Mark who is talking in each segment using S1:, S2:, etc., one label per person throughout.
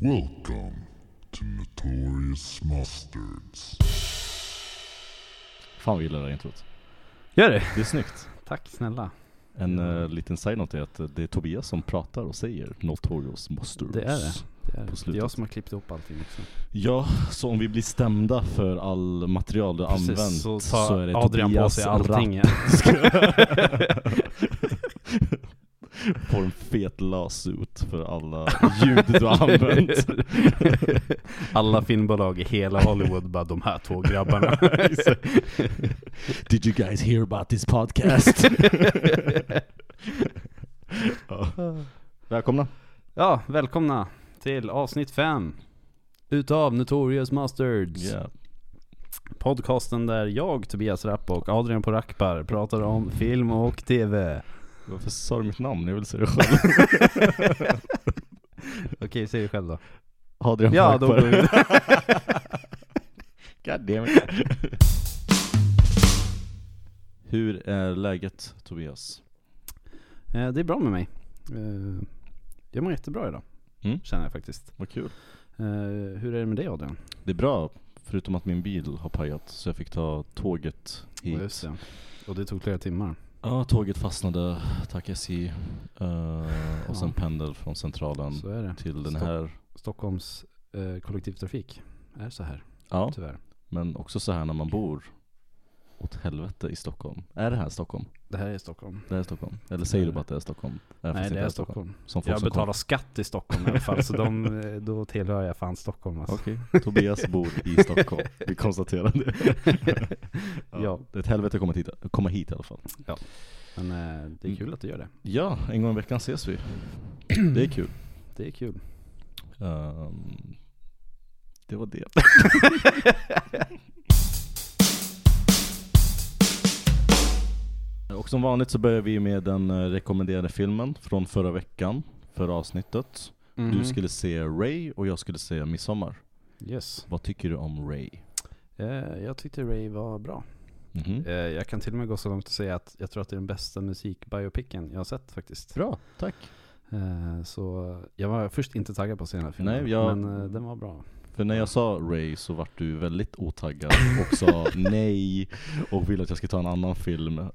S1: Welcome to Notorious Mustards.
S2: Fan vad jag gillar det här introt.
S3: Gör det?
S2: Det är snyggt.
S3: Tack snälla.
S2: En eh, liten side-note är att eh, det är Tobias som pratar och säger Notorious Mustards.
S3: Det är det. Det är,
S2: På
S3: det
S2: slutet.
S3: är jag som har klippt ihop allting också.
S2: Ja, så om vi blir stämda för all material du
S3: Precis,
S2: använt
S3: så
S2: så,
S3: tar
S2: är det
S3: Adrian på
S2: Tobias
S3: sig allting.
S2: ratt.
S3: Ja.
S2: Får en fet lasut för alla ljud du har använt.
S3: Alla filmbolag i hela Hollywood bara de här två grabbarna.
S2: Did you guys hear about this podcast? ja. Välkomna.
S3: ja, välkomna till avsnitt fem utav Notorious Masters. Podcasten där jag, Tobias Rapp och Adrian Porakpar pratar om film och TV.
S2: Varför sa du mitt namn? Jag vill säga det själv.
S3: Okej, säg det själv då.
S2: Adrian
S3: Ja, då går vi vidare.
S2: Goddammit. Hur är läget Tobias?
S3: Eh, Det är bra med mig. Eh, Jag mår jättebra idag,
S2: Mm.
S3: känner jag faktiskt.
S2: Vad kul.
S3: Eh, Hur är det med dig Adrian?
S2: Det är bra, förutom att min bil har pajat så jag fick ta tåget hit.
S3: Just det. Och det tog flera timmar.
S2: Ja, tåget fastnade, tack SJ. Eh, och sen
S3: Ja.
S2: pendel från centralen
S3: Så är det.
S2: till den
S3: Stopp.
S2: här.
S3: Stockholms eh, kollektivtrafik är så här,
S2: Ja,
S3: tyvärr.
S2: men också så här när man bor åt helvete i Stockholm. Är det här Stockholm?
S3: Det här är Stockholm.
S2: Det här är Stockholm? Eller säger du bara att det är Stockholm? Även fast
S3: Nej, det
S2: inte
S3: är Stockholm.
S2: Som folk
S3: Jag
S2: som
S3: betalar skatt i Stockholm i alla fall, så de, eh, då tillhör jag fan Stockholm alltså.
S2: Okej, Tobias bor i Stockholm. Vi konstaterar det.
S3: Ja.
S2: Det är ett helvete att komma hit, komma hit i alla fall.
S3: Men eh, det är
S2: Mm.
S3: kul att du gör det.
S2: Ja, en gång i veckan ses vi. Det är kul.
S3: Det är kul.
S2: Ehm, det var det. Och som vanligt så börjar vi med den eh, rekommenderade filmen från förra veckan, förra avsnittet. Du skulle se Ray och jag skulle se Midsommar.
S3: Yes.
S2: Vad tycker du om Ray?
S3: Eh, jag tyckte Ray var bra.
S2: Mhm.
S3: Eh, jag kan till och med gå så långt att säga att jag tror att det är den bästa musikbiopicen jag har sett faktiskt.
S2: Bra, tack.
S3: Eh, så jag var först inte taggad på att se den här filmen,
S2: Nej, jag-
S3: men eh, den var bra.
S2: För när jag sa Ray så vart du väldigt otaggad och sa nej och ville att jag ska ta en annan film. Eh,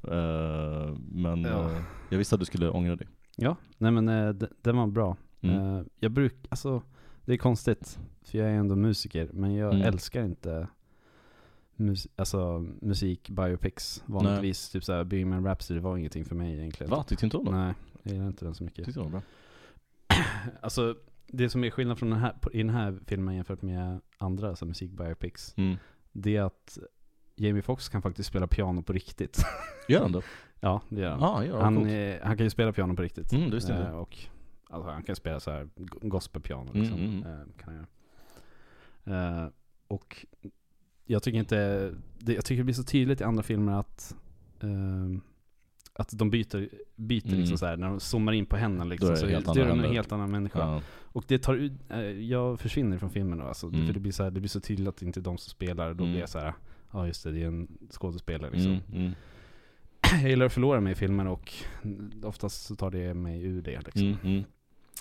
S2: men
S3: Ja.
S2: eh, jag visste att du skulle ångra dig.
S3: Ja, nej men eh, d- den var bra.
S2: Mm.
S3: Eh, jag brukar, alltså det är konstigt, för jag är ändå musiker, men jag
S2: Mm.
S3: älskar inte mus- alltså, musik, biopics vanligtvis. Typ såhär, Bohemian Rhapsody var ingenting för mig egentligen.
S2: Va? Tyckte inte om den?
S3: Nej, jag gillar inte den så mycket.
S2: Tyckte du den var bra?
S3: Alltså, det som är skillnad från den här, på- i den här filmen jämfört med andra så här, musikbiopics,
S2: Mm.
S3: det är att Jamie Foxx kan faktiskt spela piano på riktigt.
S2: Gör han det?
S3: ja, det gör han.
S2: Ja, gör han.
S3: han,
S2: coolt.
S3: eh, han kan ju spela piano på riktigt.
S2: Mm, det visste jag
S3: Eh,
S2: inte.
S3: och, alltså, han kan spela så här go- gospelpiano liksom.
S2: Mm, mm,
S3: Eh, kan han göra. Eh, och jag tycker inte, det, jag tycker det blir så tydligt i andra filmer att ehm, att de byter, byter
S2: Mm.
S3: liksom så här, när de zoomar in på henne liksom,
S2: Då är det
S3: så
S2: helt
S3: är de
S2: andra
S3: en
S2: händer.
S3: helt annan människa.
S2: Ja.
S3: Och det tar ut, eh, jag försvinner från filmen då alltså,
S2: Mm.
S3: för det blir, så här, det blir så tydligt att det inte är de som spelar, då
S2: Mm.
S3: blir jag så här, ja just det, det är en skådespelare liksom.
S2: Mm, mm,
S3: Jag gillar att förlora mig i filmer och oftast så tar det mig ur det liksom.
S2: mm, mm.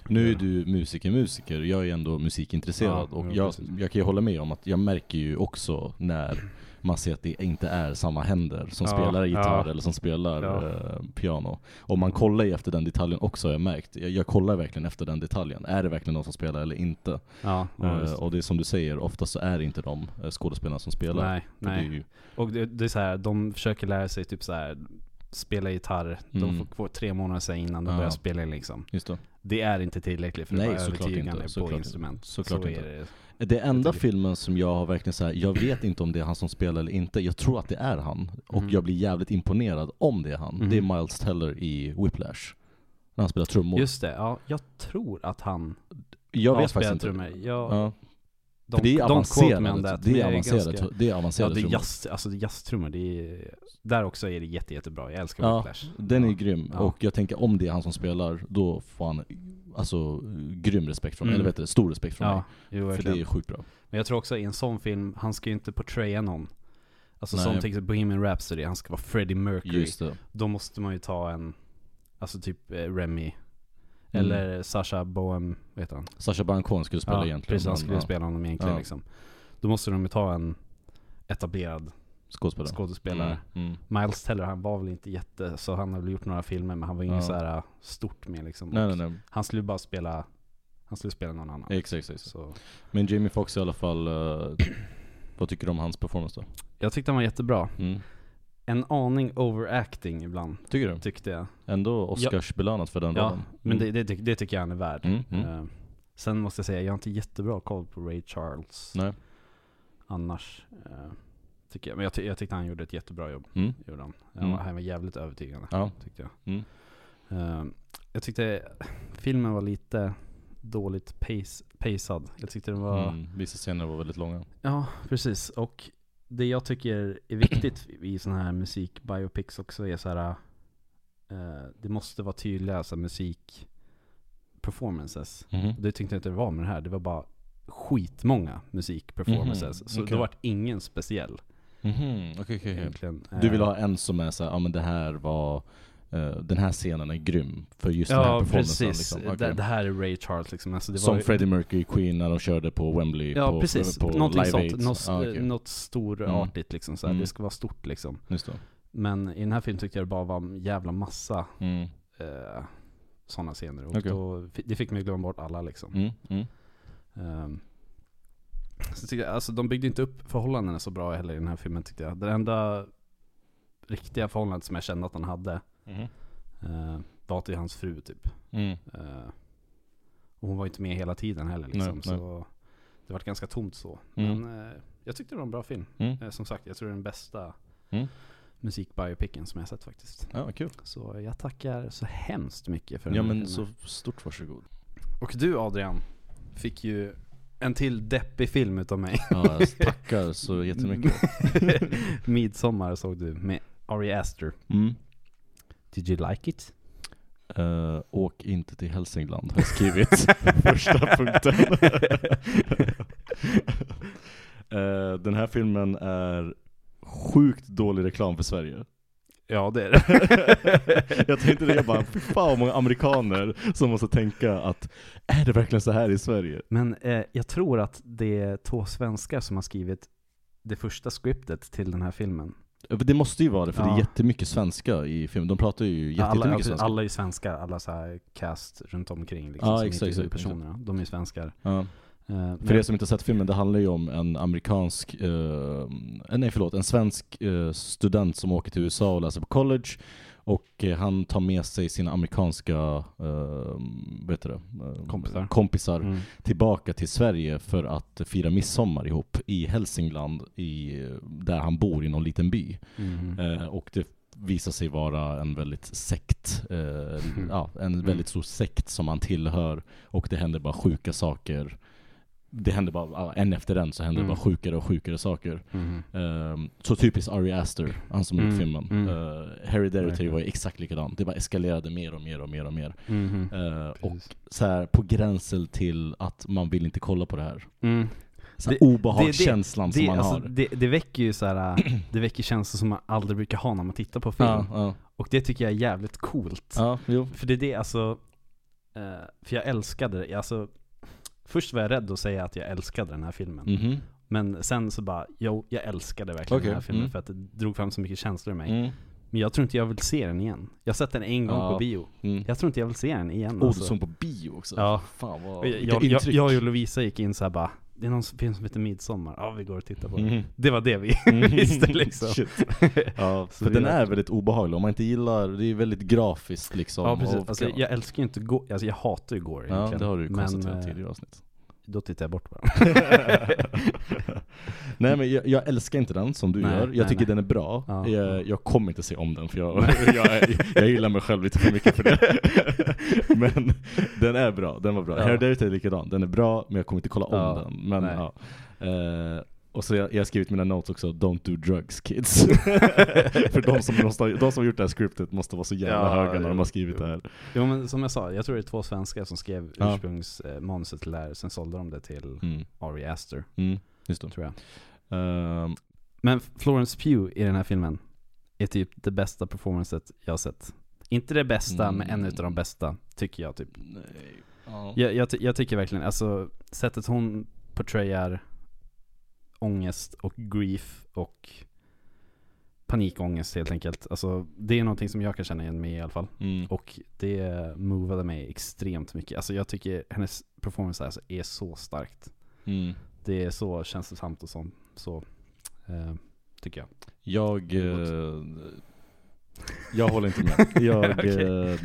S2: Nu är du musiker, musiker. Jag är ändå musikintresserad
S3: Ja,
S2: och
S3: jo,
S2: jag,
S3: precis.
S2: jag kan ju hålla med om att jag märker ju också när man ser att det inte är samma händer som
S3: Ja,
S2: spelar gitarr
S3: ja.
S2: eller som spelar
S3: Ja.
S2: eh, piano. Och man kollar ju efter den detaljen också har jag märkt. Jag, jag kollar verkligen efter den detaljen. Är det verkligen någon som spelar eller inte?
S3: Ja,
S2: Eh,
S3: ja, visst.
S2: och det är som du säger, ofta så är det inte de eh, skådespelarna som spelar.
S3: nej,
S2: För det är
S3: nej.
S2: ju,
S3: Och det, det är så här, de försöker lära sig typ så här spela gitarr. De
S2: Mm.
S3: får, får tre månader sen innan de
S2: Ja.
S3: börjar spela liksom.
S2: just det.
S3: Det är inte tillräckligt för att
S2: Nej,
S3: vara
S2: såklart inte,
S3: övertygande
S2: såklart
S3: på
S2: inte.
S3: instrument.
S2: Såklart
S3: så
S2: inte.
S3: är det.
S2: Det enda
S3: Jag tycker-
S2: filmen som jag har verkligen så här, jag vet inte om det är han som spelar eller inte, jag tror att det är han. Och
S3: Mhm.
S2: jag blir jävligt imponerad om det är han.
S3: Mhm.
S2: Det är Miles Teller i Whiplash. När han spelar trummor.
S3: Just det, ja, jag tror att han
S2: jag
S3: har
S2: vet faktiskt
S3: spelat
S2: inte.
S3: trummor. Ja,
S2: Ja.
S3: de,
S2: För det är
S3: de quote me on
S2: avancerade,
S3: that,
S2: det
S3: men
S2: är avancerade,
S3: ganska-
S2: tru- det är
S3: Ja,
S2: avancerade
S3: det är
S2: trummor.
S3: jazz, alltså det är jazztrummor. Det är, där också är det jätte, jättebra. Jag älskar
S2: Ja,
S3: Whiplash.
S2: Den är ju grym,
S3: Ja.
S2: och jag tänker om det är han som spelar, då får han alltså, grym respekt från mig,
S3: Mm.
S2: eller vet du, stor respekt från
S3: Ja, jo,
S2: mig. För
S3: verkligen.
S2: det är sjukt bra.
S3: Men jag tror också i en sån film, han ska ju inte portraya någon. Alltså
S2: Nej.
S3: som till exempel Bohemian Rhapsody, han ska vara Freddie Mercury.
S2: Just det.
S3: Då måste man ju ta en, alltså typ eh, Remy.
S2: Mm.
S3: Eller Sasha Bohem, vad heter han?
S2: Sacha Baron Cohen skulle spela
S3: ja,
S2: egentligen.
S3: Precis, han
S2: men,
S3: skulle
S2: ja,
S3: spela honom egentligen
S2: Ja.
S3: liksom. Då måste de ju ta en etablerad
S2: Skådespelare.
S3: skådespelare.
S2: Mm. Mm.
S3: Miles Teller, han var väl inte jätte, så han har väl gjort några filmer men han var ju
S2: Ja.
S3: inget så här äh, stort med liksom.
S2: Nej,
S3: Och
S2: nej, nej.
S3: Han skulle bara spela, han skulle spela någon annan.
S2: Exakt, exakt. exakt.
S3: Så.
S2: Men Jamie Foxx i alla fall, eh, vad tycker du om hans performance då?
S3: Jag tyckte han var jättebra.
S2: Mm.
S3: En aning overacting ibland,
S2: Tycker du?
S3: tyckte jag.
S2: Ändå Oscarsbelönat för den
S3: Ja,
S2: rollen.
S3: men det, det, tyck- det tycker jag han är värd.
S2: Mm, mm.
S3: Eh, sen måste jag säga, jag har inte jättebra koll på Ray Charles
S2: Nej.
S3: annars. eh, tycker jag. Men jag, ty- jag tyckte han gjorde ett jättebra jobb.
S2: Mm.
S3: Gjorde han. Han
S2: Mm.
S3: var- han var jävligt övertygande,
S2: Ja.
S3: tyckte jag.
S2: Mm.
S3: Eh, jag tyckte filmen var lite dåligt pace, pacad. Jag tyckte den var...
S2: Mm. Vissa scener var väldigt långa.
S3: Ja, precis. Och det jag tycker är viktigt i sådana här musikbiopics också är så här. eh, det måste vara tydliga så här, musik performances.
S2: Mhm.
S3: Det tyckte jag inte det var med det här. Det var bara skitmånga musikperformances.
S2: Mhm,
S3: Så
S2: okej.
S3: det var ingen speciell
S2: Mhm, okej, okej, okej.
S3: egentligen.
S2: Du
S3: Eh,
S2: vill ha en som är såhär, ja men det här var, eh, den här scenen är grym för just den här
S3: Ja,
S2: performancen.
S3: precis.
S2: Liksom. Okej.
S3: det, det här är Ray Charles liksom. Alltså, det
S2: som
S3: var, ju-
S2: Freddie Mercury Queen när de körde på Wembley
S3: Ja,
S2: på,
S3: precis.
S2: på
S3: Någonting
S2: Live
S3: sånt.
S2: Aid.
S3: Något,
S2: ah, okej.
S3: något storartigt liksom. Så här.
S2: Mm.
S3: Det ska vara stort liksom.
S2: Just det.
S3: Men i den här filmen tyckte jag det bara var en jävla massa
S2: Mm.
S3: eh, sådana scener. Och
S2: Okej.
S3: då, fi- det fick mig glömma bort alla liksom.
S2: Mm. Mm.
S3: Ehm, så tycker jag, alltså, de byggde inte upp förhållandena så bra heller i den här filmen tyckte jag. Det enda riktiga förhållandet som jag kände att han hade
S2: Mm.
S3: eh, var till hans fru typ.
S2: Mm.
S3: Eh, och hon var ju inte med hela tiden heller liksom.
S2: Nej, nej.
S3: så det var ganska tomt så.
S2: Mm.
S3: Men eh, jag tyckte det var en bra film.
S2: Mm.
S3: Eh, som sagt, jag tror det är den bästa
S2: Mm.
S3: musikbiopicen som jag sett faktiskt.
S2: Ja, kul.
S3: Så jag tackar så hemskt mycket för den
S2: Ja
S3: här
S2: men
S3: filmen.
S2: så stort varsågod.
S3: Och du Adrian, fick ju en till deppig film utav mig.
S2: Ja, jag tackar så jättemycket.
S3: Midsommar såg du med Ari Aster.
S2: Mm.
S3: Did you like it?
S2: Eh, åk inte till Hälsingland har jag skrivit. Första punkten. Eh, den här filmen är sjukt dålig reklam för Sverige.
S3: Ja det är det.
S2: jag tänkte det, jag bara, "Fy fan vad många amerikaner som måste tänka att är det verkligen så här i Sverige?
S3: Men eh, jag tror att det är två svenskar som har skrivit det första scriptet till den här filmen.
S2: Det måste ju vara det, för det är
S3: Ja.
S2: jättemycket svenska i filmen. De pratar ju jätte-
S3: alla,
S2: jättemycket
S3: alltså,
S2: svenska.
S3: alla är ju svenskar, alla så här cast runt omkring liksom,
S2: Ja,
S3: som
S2: exakt,
S3: intervjuar
S2: exakt,
S3: personerna. De är ju svenskar.
S2: Ja.
S3: Eh,
S2: För er som inte har sett filmen, det handlar ju om en amerikansk, eh, nej förlåt, en svensk eh, student som åker till USA och läser på college. Och eh, han tar med sig sina amerikanska, eh, vad heter det? Eh,
S3: Kompisar.
S2: kompisar
S3: mm.
S2: tillbaka till Sverige för att fira midsommar ihop i Hälsingland, i, eh, där han bor i någon liten by.
S3: Mhm.
S2: Eh, och det visar sig vara en väldigt sekt, eh, ja,
S3: Mm.
S2: en väldigt stor sekt som han tillhör. Och det händer bara sjuka saker. Det händer bara, ja, en efter en så händer det
S3: Mm.
S2: bara sjukare och sjukare saker.
S3: Mhm.
S2: Ehm, så typiskt Ari Aster, han som gjort
S3: Mm,
S2: filmen.
S3: mm.
S2: Eh, Harry Derry
S3: Verkligen.
S2: var ju exakt likadant. Det bara eskalerade mer och mer och mer och mer.
S3: Mhm.
S2: Eh, och
S3: Precis.
S2: så här på gränsen till att man vill inte kolla på det här.
S3: Mm.
S2: Så här
S3: Det-
S2: obehagskänslan
S3: det,
S2: som man
S3: alltså,
S2: har.
S3: Det, det väcker ju så här, äh, det väcker känslor som man aldrig brukar ha när man tittar på film.
S2: Ja, ja,
S3: Och det tycker jag är jävligt coolt.
S2: ja, jo.
S3: För det är det alltså, eh, för jag älskade det. Alltså, först var jag rädd att säga att jag älskade den här filmen.
S2: Mhm.
S3: Men sen så bara, jo, jag älskade verkligen
S2: Okej,
S3: den här filmen
S2: mm.
S3: för att det drog fram så mycket känslor i mig.
S2: Mm.
S3: Men jag tror inte jag vill se den igen. Jag har sett den en gång
S2: Ja.
S3: på bio.
S2: Mm.
S3: Jag tror inte jag vill se den igen.
S2: Oh,
S3: alltså.
S2: du såg på bio också?
S3: Ja.
S2: Fan vad...
S3: Och jag, jag, jag,
S2: vilket
S3: jag och Lovisa gick in så här bara, det är någon film som heter Midsommar, ja vi går och tittar på den.
S2: Mhm.
S3: Det var det vi
S2: Mm.
S3: visste liksom.
S2: Shit. Ja,
S3: Så
S2: för
S3: det är
S2: den är
S3: verkligen-
S2: väldigt obehaglig, om man inte gillar, det är väldigt grafiskt liksom.
S3: Ja precis,
S2: och-
S3: alltså,
S2: ja.
S3: jag älskar ju inte Gore, alltså, jag hatar ju Gore
S2: ja,
S3: egentligen.
S2: det har du ju konstaterat
S3: men, eh,
S2: tidigare avsnitt.
S3: Då tittar jag bort på den.
S2: nej men jag, jag älskar inte den som du
S3: Nej,
S2: gör, jag
S3: nej,
S2: tycker
S3: nej.
S2: den är bra.
S3: Ja.
S2: Jag, jag kommer inte se om den för jag, jag, jag gillar mig själv lite för mycket för det. men den är bra, den var bra.
S3: Ja.
S2: Heredity är likadan, den är bra men jag kommer inte kolla om
S3: Ja,
S2: den. Men,
S3: nej.
S2: ja. Eh, och så jag, jag har skrivit mina notes också, don't do drugs kids. för de som, måste, ha- de som har gjort det här scriptet måste vara så jävla
S3: Ja,
S2: höga när de
S3: jo,
S2: har skrivit
S3: jo.
S2: det här.
S3: Jo men som jag sa, jag tror det är två svenskar som skrev
S2: Ja.
S3: ursprungsmanuset till det här, sen sålde de det till
S2: Mm.
S3: Ari Aster,
S2: Mm. Just det.
S3: tror jag.
S2: Ehm,
S3: Men Florence Pugh i den här filmen är typ det bästa performancet jag har sett. Inte det bästa, men en
S2: Mm.
S3: utav de bästa, tycker jag typ.
S2: Nej. Ja.
S3: Jag, jag, ty- jag tycker verkligen, alltså sättet hon portrayar ångest och grief och panikångest helt enkelt. Alltså det är någonting som jag kan känna igen mig i i alla fall.
S2: Mm.
S3: Och det movade mig extremt mycket. Alltså jag tycker hennes performance här alltså är så starkt.
S2: Mm.
S3: Det är så känslosamt och sånt. Så, eh, tycker jag.
S2: Jag...
S3: Det går
S2: Eh, jag håller inte med. Jag,
S3: Okej.
S2: eh,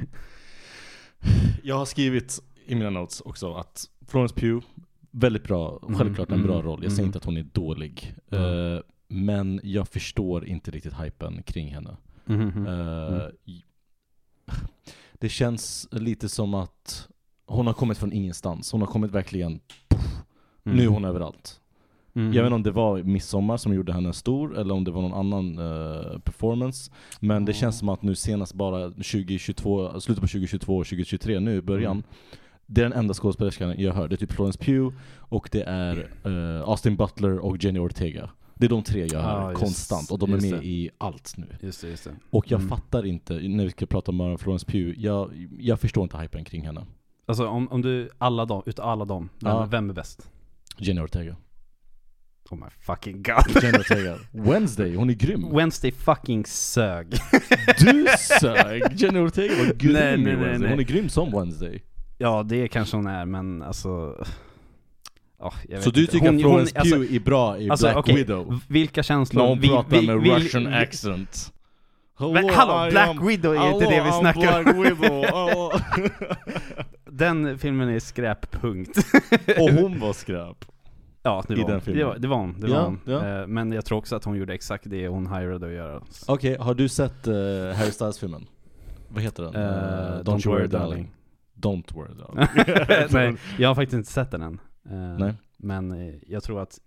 S2: jag har skrivit i mina notes också att Florence Pugh, väldigt bra,
S3: Mm,
S2: självklart en bra
S3: mm,
S2: roll. Jag säger
S3: mm.
S2: inte att hon är dålig.
S3: Mm.
S2: Eh, men jag förstår inte riktigt hypen kring henne. Eh,
S3: Mm.
S2: i- Det känns lite som att hon har kommit från ingenstans. Hon har kommit verkligen, nu är hon överallt.
S3: Mm.
S2: Jag vet inte om det var Midsommar som gjorde henne stor, eller om det var någon annan eh, performance. Men det
S3: Ja.
S2: känns som att nu senast bara 2022, slutet på 2022 och 2023 nu i början,
S3: Mm.
S2: det är den enda skådespelerskan jag hör. Det är typ Florence Pugh, och det är eh, Austin Butler och Jenny Ortega. Det är de tre jag hör
S3: Ja, just-
S2: konstant, och de är
S3: just
S2: med
S3: det.
S2: i allt nu.
S3: Just det, just det.
S2: Och jag
S3: Mm.
S2: fattar inte, när vi ska prata om Florence Pugh, jag, jag förstår inte hypen kring henne.
S3: Alltså om, om du, alla dem, utav alla dem, vem,
S2: Ja.
S3: vem är bäst?
S2: Jenny Ortega.
S3: Oh my fucking god.
S2: Jenny Ortega. Wednesday, hon är grym.
S3: Wednesday fucking sög.
S2: Du sög! Jenny Ortega var grym
S3: Nej,
S2: i
S3: nej, nej,
S2: Wednesday.
S3: nej.
S2: Hon är grym som Wednesday.
S3: Ja det kanske hon är men alltså... ja, jag
S2: Så
S3: vet
S2: du
S3: inte.
S2: tycker
S3: Hon-
S2: att Florence
S3: hon- alltså,
S2: Pugh är bra i
S3: alltså,
S2: Black
S3: okej,
S2: Widow?
S3: v- Vilka
S2: När
S3: känslor...
S2: hon
S3: vi-
S2: pratar
S3: vi-
S2: med
S3: vi-
S2: Russian
S3: vi-
S2: accent. Hello,
S3: Men hallå,
S2: I
S3: Black
S2: am-
S3: Widow är inte
S2: hello,
S3: det vi
S2: I'm
S3: snackar om.
S2: Black Widow. Oh.
S3: Den filmen är skräppunkt.
S2: Och hon var skräp.
S3: Ja, det
S2: I
S3: var,
S2: den
S3: hon.
S2: filmen.
S3: Det var, det var hon. Det
S2: Ja,
S3: var hon.
S2: ja.
S3: Eh, Men jag tror också att hon gjorde exakt det hon hyrade att göra.
S2: Okej, har du sett eh, Harry Styles-filmen? Vad heter den?
S3: Eh,
S2: Eh,
S3: Don't
S2: you
S3: Worry, Darling.
S2: Don't worry darling.
S3: Nej, jag har faktiskt inte sett den än. Eh,
S2: Nej.
S3: Men eh, jag tror att...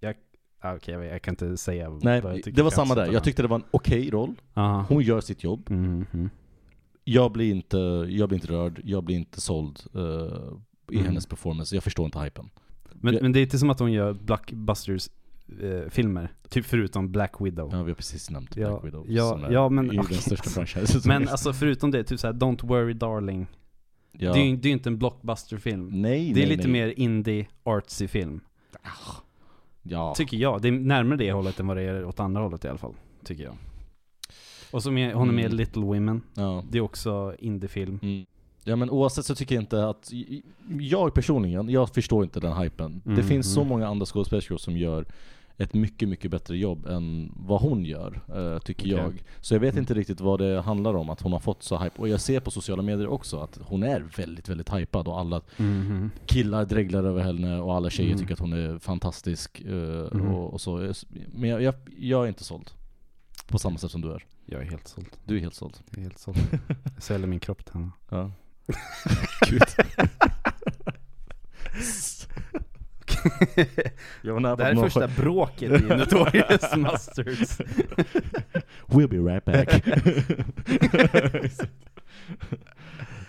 S3: Jag, ah, okej, jag, jag kan inte säga
S2: Nej,
S3: vad jag tycker.
S2: det var
S3: för jag
S2: samma
S3: har
S2: där.
S3: sett
S2: Jag
S3: den
S2: tyckte det var en okej roll.
S3: än. Aha.
S2: Hon gör sitt jobb.
S3: Mhm, mhm.
S2: jag blir inte, jag blir inte rörd, jag blir inte såld eh, i
S3: Mm.
S2: hennes performance. Jag förstår inte hypen.
S3: Men,
S2: Vi-
S3: men det är inte som att hon gör blockbusters-filmer, typ förutom Black Widow.
S2: Ja, vi har precis nämnt
S3: Ja,
S2: Black Widow
S3: ja,
S2: som är
S3: ja, men
S2: ju
S3: okej.
S2: den största franchisen som
S3: Men
S2: finns.
S3: alltså förutom det, typ såhär Don't Worry Darling.
S2: ja.
S3: Det är ju det är ju inte en blockbusterfilm.
S2: nej,
S3: Det är
S2: nej,
S3: lite
S2: nej.
S3: mer indie, artsy film.
S2: Ja.
S3: Tycker jag. Det är närmare det hållet än vad det är åt andra hållet i alla fall. Tycker jag. Och så med, hon är med i
S2: Mm.
S3: Little Women.
S2: ja.
S3: Det är också indiefilm.
S2: Mm. ja, men oavsett så tycker jag inte att, jag personligen, jag förstår inte den hypen. Det
S3: Mm,
S2: finns så
S3: mm.
S2: många andra skådespelerskor som gör ett mycket, mycket bättre jobb än vad hon gör, eh, tycker
S3: Okej.
S2: jag. Så jag vet
S3: Mm.
S2: inte riktigt vad det handlar om, att hon har fått så hype. Och jag ser på sociala medier också att hon är väldigt, väldigt hypad och alla Mm-hmm. killar dreglar över henne och alla tjejer
S3: Mm.
S2: tycker att hon är fantastisk eh,
S3: Mm.
S2: och, och så. Men jag, jag, jag är inte såld. På samma sätt som du är.
S3: Jag är helt såld.
S2: Du är helt såld.
S3: Jag är helt såld. Jag säljer min kropp till henne.
S2: Ja. jag var nära
S3: Det här är första bråket i Notorious Masters.
S2: We'll be right back.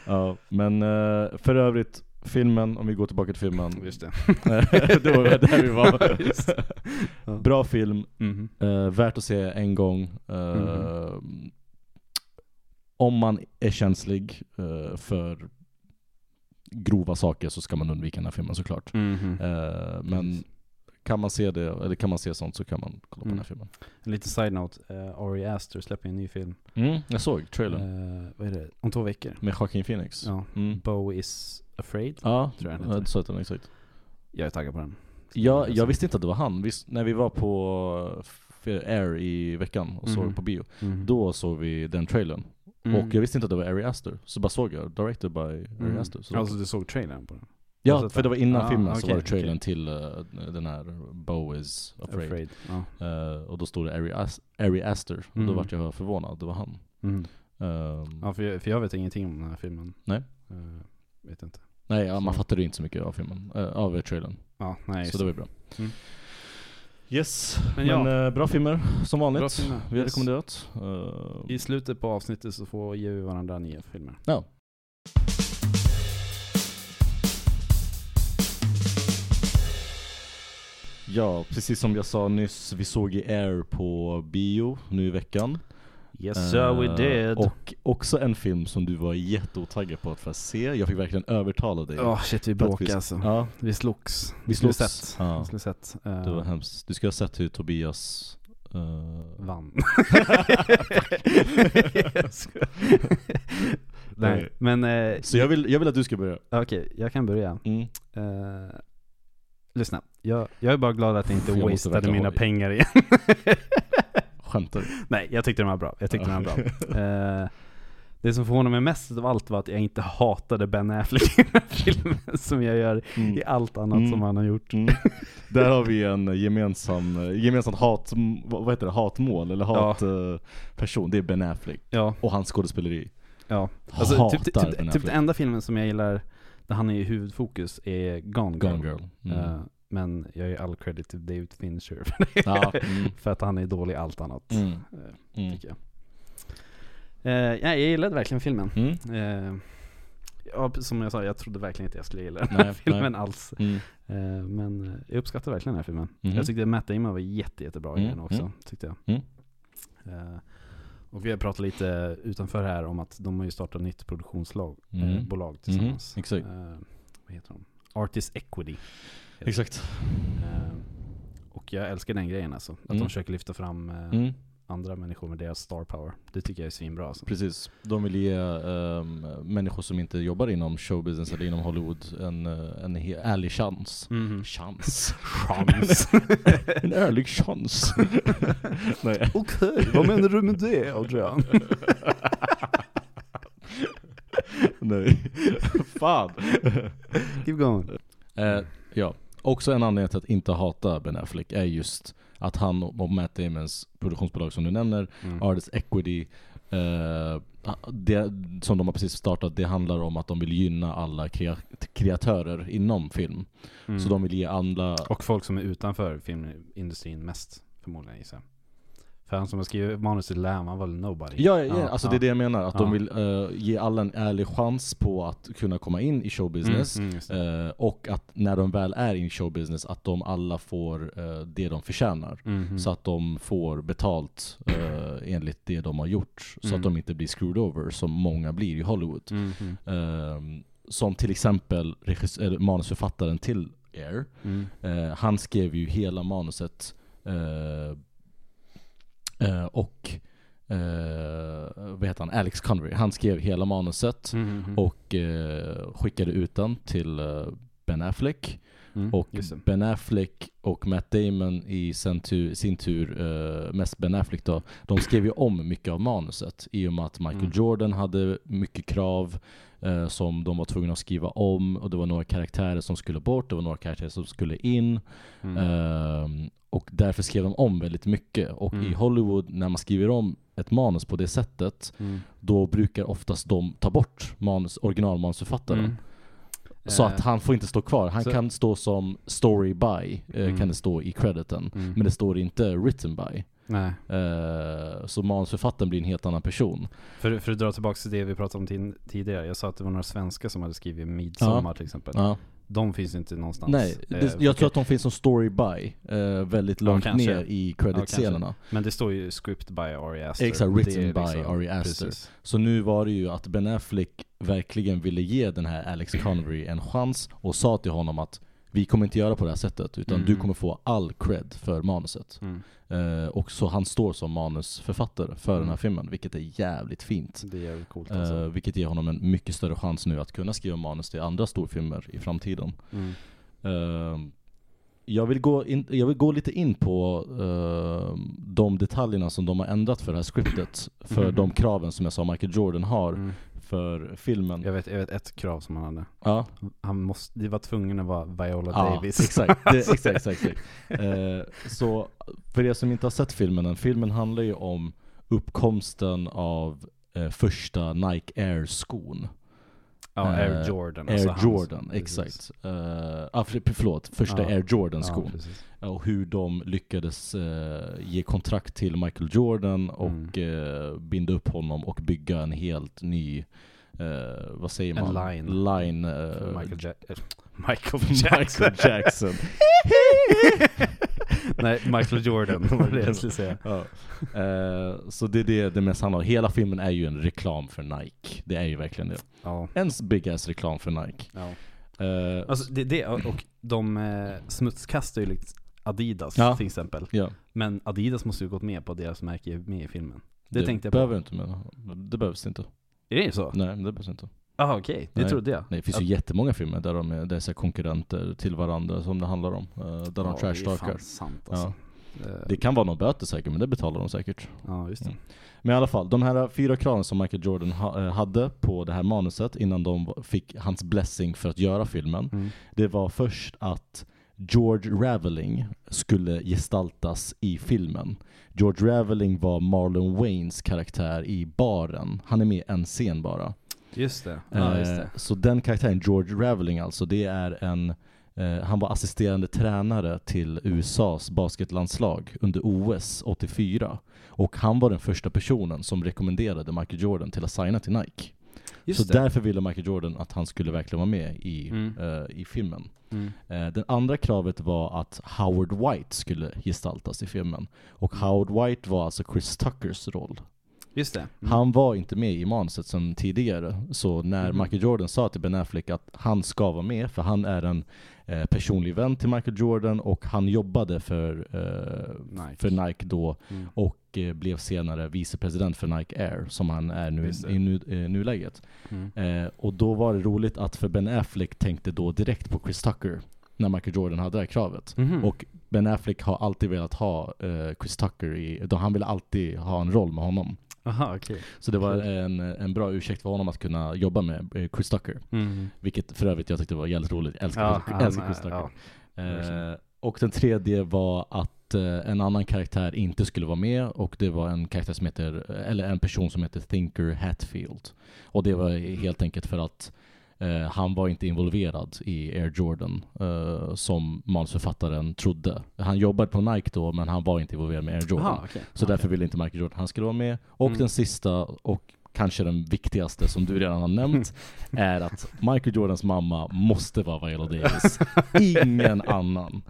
S2: ja, men eh, för övrigt, filmen, om vi går tillbaka till filmen.
S3: Just det.
S2: det var där vi var.
S3: Just det. Ja.
S2: Bra film,
S3: Mhm.
S2: Eh, värt att se en gång. Eh, Om man är känslig eh, för grova saker så ska man undvika den här filmen såklart.
S3: Mhm.
S2: Eh, men
S3: Precis.
S2: kan man se det, eller kan man se sånt så kan man kolla på den här filmen.
S3: En liten side-note, eh, Ari Aster släpper ju en ny film.
S2: Mm, Jag såg trailern
S3: Eh, vad är det? Om två veckor.
S2: med Joaquin Phoenix. Ja,
S3: Ja.
S2: mm.
S3: Bo is afraid.
S2: ja
S3: Tror jag den
S2: eh,
S3: heter.
S2: så heter den exakt.
S3: Jag är taggad på den. Alltså.
S2: Jag,
S3: jag
S2: jag
S3: se.
S2: visste inte att det var han. Visst, när vi var på eh, Air i veckan och
S3: Mhm.
S2: såg på bio, då såg vi den trailern. Och jag visste inte att det var Ari Aster, så bara såg jag 'Directed by Ari
S3: Mm.
S2: Aster' så
S3: Alltså du såg trailern på den?
S2: Ja,
S3: alltså,
S2: för det var innan
S3: ah,
S2: filmen så
S3: okej,
S2: var det trailern
S3: okej.
S2: till eh, den här 'Bo is afraid'
S3: Afraid. Ja.
S2: Eh, och då stod det Ari, As- Ari Aster, och då
S3: Mm.
S2: vart jag förvånad, det var han
S3: Mm.
S2: Ehm,
S3: ja för, jag, för jag vet ingenting om den här filmen.
S2: Nej.
S3: Eh, vet inte.
S2: Nej, ja, man
S3: så-
S2: fattade ju inte så mycket av filmen, eh, av trailern,
S3: Ja, nej.
S2: så det var ju bra
S3: Mm.
S2: Yes, men,
S3: Men ja.
S2: eh, bra filmer som vanligt,
S3: Bra filmer,
S2: vi har
S3: yes.
S2: rekommenderat Eh,
S3: I slutet på avsnittet så får ger vi varandra nya filmer.
S2: Ja. Ja, precis som jag sa nyss, vi såg i Air på bio nu i veckan.
S4: Yes sir we
S2: Eh,
S4: did.
S2: Och också en film som du var jätteotaggad på att få se. Jag fick verkligen övertala dig.
S3: Åh shit vi
S2: För att
S3: bråkade
S2: vi-
S3: alltså.
S2: Ja,
S3: Vi slogs.
S2: vi
S3: Skulle
S2: slogs.
S3: sett.
S2: Ja,
S3: Skulle sett.
S2: det var
S3: eh,
S2: hemskt. Du skulle ha sett hur Tobias...
S4: Mm.
S2: eh,
S3: vann.
S2: Fuck.
S3: Nej, men eh,
S2: Så jag vill, jag vill att du ska börja.
S3: okej, jag kan börja.
S2: Mm.
S3: Eh, lyssna, jag, jag är bara glad att jag inte
S2: Jag måste
S3: wastade
S2: verkligen
S3: mina
S2: ha-
S3: pengar igen.
S2: Skämtar du?
S3: Nej, jag tyckte den var bra. Jag tyckte den var bra. Eh, det som förvånade mig mest av allt var att jag inte hatade Ben Affleck i den här filmen som jag gör
S2: Mm.
S3: i allt annat
S2: Mm.
S3: som han har gjort.
S2: Mm. Där har vi en gemensam, eh, gemensamt hat, m- vad heter det, hatmål eller hatperson. Eh, person Det är Ben Affleck
S3: Ja,
S2: och hans skådespeleri.
S3: ja.
S2: Hatar
S3: typ, typ,
S2: Ben
S3: typ, typ
S2: Affleck.
S3: den enda filmen som jag gillar där han är i huvudfokus är Gone Girl.
S2: Gone Girl. Mm.
S3: Eh, men jag ger all credit till David Fincher
S2: Ja, mm.
S3: för att han är dålig i allt annat,
S2: Mm.
S3: eh,
S2: Mm.
S3: tycker jag. Eh, nej, jag gillade verkligen filmen.
S2: Mm.
S3: Eh, ja, som jag sa, jag trodde verkligen inte jag skulle gilla den här
S2: Nej, nej.
S3: filmen alls.
S2: Mm.
S3: Eh, men eh, jag uppskattar verkligen den här filmen.
S2: Mhm.
S3: Jag tyckte Matt Damon var jätte, jättebra i
S2: Mm,
S3: den också,
S2: mm.
S3: tyckte jag.
S2: Mm.
S3: Eh, och vi har pratat lite utanför här om att de har ju startat nytt produktionsbolag eh,
S2: Mm.
S3: bolag tillsammans.
S2: Mhm, exakt.
S3: Eh, vad heter de? Artist Equity.
S2: Exakt.
S3: Eh, och jag älskar den grejen alltså. Att
S2: Mm.
S3: de försöker lyfta fram eh,
S2: Mm.
S3: andra människor med deras star power. Det tycker jag är svinbra alltså.
S2: Precis. De vill ge ehm, människor som inte jobbar inom showbusiness eller inom Hollywood en, eh, en he- ärlig chans.
S3: Mhm.
S2: Chans.
S3: Chans.
S2: En ärlig chans. Nej.
S3: Okej, vad menar du med det Adrian?
S2: Nej. Fan.
S3: Keep going.
S2: Eh, ja, också en anledning till att inte hata Ben Affleck är just att han och Matt Damons produktionsbolag som du nämner,
S3: Mm.
S2: Artist Equity, eh, det, som de har precis startat, det handlar om att de vill gynna alla krea- kreatörer inom film.
S3: Mm.
S2: Så de vill ge alla...
S3: Och folk som är utanför filmindustrin mest förmodligen gissar jag. För han som har skrivit manuset till Lamb, han var väl nobody?
S2: Ja, ja, alltså det är det jag menar. Att
S3: Ja.
S2: de vill eh, ge alla en ärlig chans på att kunna komma in i showbusiness.
S3: Mm, mm, just det.
S2: Eh, och att när de väl är i showbusiness, att de alla får eh, det de förtjänar.
S3: Mhm.
S2: Så att de får betalt eh, enligt det de har gjort. Så
S3: Mm.
S2: att de inte blir screwed over som många blir i Hollywood.
S3: Mhm.
S2: Ehm, som till exempel regissör- eller manusförfattaren till Air.
S3: Mm.
S2: Eh, han skrev ju hela manuset. eh, eh, och eh, vad heter han? Alex Connery. Han skrev hela manuset.
S3: Mhm.
S2: Och eh, skickade ut den till eh, Ben Affleck.
S3: Mm,
S2: Och
S3: just det.
S2: Ben Affleck och Matt Damon i sin tur, sin tur eh, mest Ben Affleck då, de skrev ju om mycket av manuset i och med att Michael
S3: Mm.
S2: Jordan hade mycket krav eh, som de var tvungna att skriva om och det var några karaktärer som skulle bort, det var några karaktärer som skulle in.
S3: Mm.
S2: Ehm, och därför skrev de om väldigt mycket. Och
S3: Mm.
S2: i Hollywood, när man skriver om ett manus på det sättet,
S3: Mm.
S2: då brukar oftast de ta bort manus, originalmanusförfattaren.
S3: Mm.
S2: Så
S3: Eh,
S2: att han får inte stå kvar. Han
S3: så-
S2: kan stå som story by, eh,
S3: Mm.
S2: kan det stå i crediten.
S3: mm.
S2: Men det står inte written by.
S3: Nej.
S2: Eh, så manusförfattaren blir en helt annan person.
S3: För, för att dra tillbaka till det vi pratade om tin- tidigare. Jag sa att det var några svenskar som hade skrivit Midsommar till exempel.
S2: Ja.
S3: De finns inte någonstans.
S2: Nej,
S3: Eh,
S2: det, jag tror att de finns som story by, eh, väldigt långt
S3: kanske.
S2: ner i creditscenerna.
S3: Men det står ju script by Ari Aster.
S2: Exakt,
S3: Det är liksom-
S2: written by Ari Aster.
S3: Precis.
S2: så nu var det ju att Ben Affleck verkligen ville ge den här Alex Connery en chans och sa till honom att vi kommer inte göra på det här sättet utan
S3: Mm.
S2: du kommer få all cred för manuset.
S3: Mm.
S2: Eh, och så han står som manusförfattare för den här filmen, vilket är jävligt fint.
S3: Det är jävligt Mm. coolt alltså.
S2: Eh, vilket ger honom en mycket större chans nu att kunna skriva manus till andra storfilmer i framtiden.
S3: Mm.
S2: Eh, jag, vill gå in, jag vill gå lite in på eh, de detaljerna som de har ändrat för det här scriptet. För
S3: Mhm.
S2: de kraven som jag sa Michael Jordan har
S3: Mm.
S2: för filmen.
S3: Jag vet, jag vet ett krav som han hade.
S2: Ja,
S3: Han måste, det var tvungen att vara Viola
S2: ja
S3: Davis.
S2: exakt. Det, exakt, exakt, exakt. Eh, så för er som inte har sett filmen än, filmen handlar ju om uppkomsten av eh, första Nike Air-skon.
S3: Ja, Air
S2: Eh,
S3: Jordan.
S2: Air
S3: alltså han-
S2: Jordan,
S3: precis.
S2: exakt. Uh, ah, för, förlåt, första
S3: Ja.
S2: Air
S3: Ja,
S2: Jordan-skon.
S3: precis.
S2: och hur de lyckades eh, ge kontrakt till Michael Jordan och
S3: Mm.
S2: eh, binda upp honom och bygga en helt ny, eh, vad säger
S3: En
S2: man?
S3: line.
S2: Line.
S3: För
S2: eh,
S3: Michael, ja- Michael
S2: Michael
S3: Jackson.
S2: Jackson.
S3: Nej, Michael Jordan var det jag skulle säga.
S2: Ja. Eh, så det är det det mest handlar om. Hela filmen är ju en reklam för Nike. Det är ju verkligen det.
S3: Ja.
S2: En big ass reklam för Nike.
S3: ja.
S2: Eh,
S3: Alltså det, det och de eh, smutskastar ju likt Adidas
S2: Ja.
S3: till exempel.
S2: ja,
S3: Men Adidas måste ju gått med på att deras märke är med i filmen. Det,
S2: det
S3: tänkte jag på.
S2: behöver inte men det behövs inte.
S3: Är det så?
S2: Nej, det behövs inte.
S3: Jaha okej, det
S2: Nej.
S3: trodde jag.
S2: Nej, det finns ju jättemånga filmer där de är, där är så här konkurrenter till varandra som det handlar om. eh, där de
S3: Det är
S2: trashtalkar.
S3: fan sant
S2: Ja. Mm.
S3: alltså. Eh,
S2: Det kan vara någon böter säkert, men det betalar de säkert.
S3: Ja, just det.
S2: Men i alla fall, de här fyra kraven som Michael Jordan ha, eh, hade på det här manuset innan de fick hans blessing för att göra filmen.
S3: Mm.
S2: Det var först att George Raveling skulle gestaltas i filmen. George Raveling var Marlon Waynes karaktär i baren. Han är med i en scen bara.
S3: Just det. Ja, just
S2: Eh,
S3: det.
S2: Så den karaktären, George Raveling alltså, det är en eh, han var assisterande tränare till USAs basketlandslag under OS 84. Och han var den första personen som rekommenderade Michael Jordan till att signa till Nike.
S3: Just
S2: så
S3: det.
S2: därför ville Michael Jordan att han skulle verkligen vara med i,
S3: Mm.
S2: eh, i filmen.
S3: Mm.
S2: Eh, Det andra kravet var att Howard White skulle gestaltas i filmen. Och
S3: Mm.
S2: Howard White var alltså Chris Tuckers roll.
S3: Just det. Mm.
S2: Han var inte med i manuset som tidigare, så när
S3: Mhm.
S2: Michael Jordan sa till Ben Affleck att han ska vara med, för han är en eh, personlig vän till Michael Jordan och han jobbade för, eh,
S3: Nike.
S2: för Nike då
S3: Mm.
S2: och eh, blev senare vicepresident för Nike Air, som han är nu
S3: Just
S2: i,
S3: det.
S2: i nu, eh, nuläget.
S3: Mm.
S2: Eh, och då var det roligt att för Ben Affleck tänkte då direkt på Chris Tucker när Michael Jordan hade det här kravet.
S3: Mhm.
S2: Och Ben Affleck har alltid velat ha eh, Chris Tucker i, då han ville alltid ha en roll med honom.
S3: Aha, okej.
S2: Så det var en, en bra ursäkt för honom att kunna jobba med eh, Chris Tucker.
S3: Mm.
S2: Vilket för övrigt jag tyckte var jävligt roligt. Jag älskar, Chris-
S3: han,
S2: älskar Chris
S3: eh,
S2: Tucker.
S3: ja. verkligen.
S2: eh, och den tredje var att eh, en annan karaktär inte skulle vara med och det var en karaktär som heter, eller en person som heter Thinker Hatfield. Och det var helt enkelt för att eh, han var inte involverad i Air Jordan eh, som manusförfattaren trodde. Han jobbade på Nike då men han var inte involverad med Air Jordan.
S3: Aha, okej.
S2: Så
S3: Okej.
S2: därför ville inte Michael Jordan han skulle vara med. Och
S3: Mm.
S2: den sista och kanske den viktigaste som du redan har nämnt är att Michael Jordans mamma måste vara Viola Davis. Ingen annan.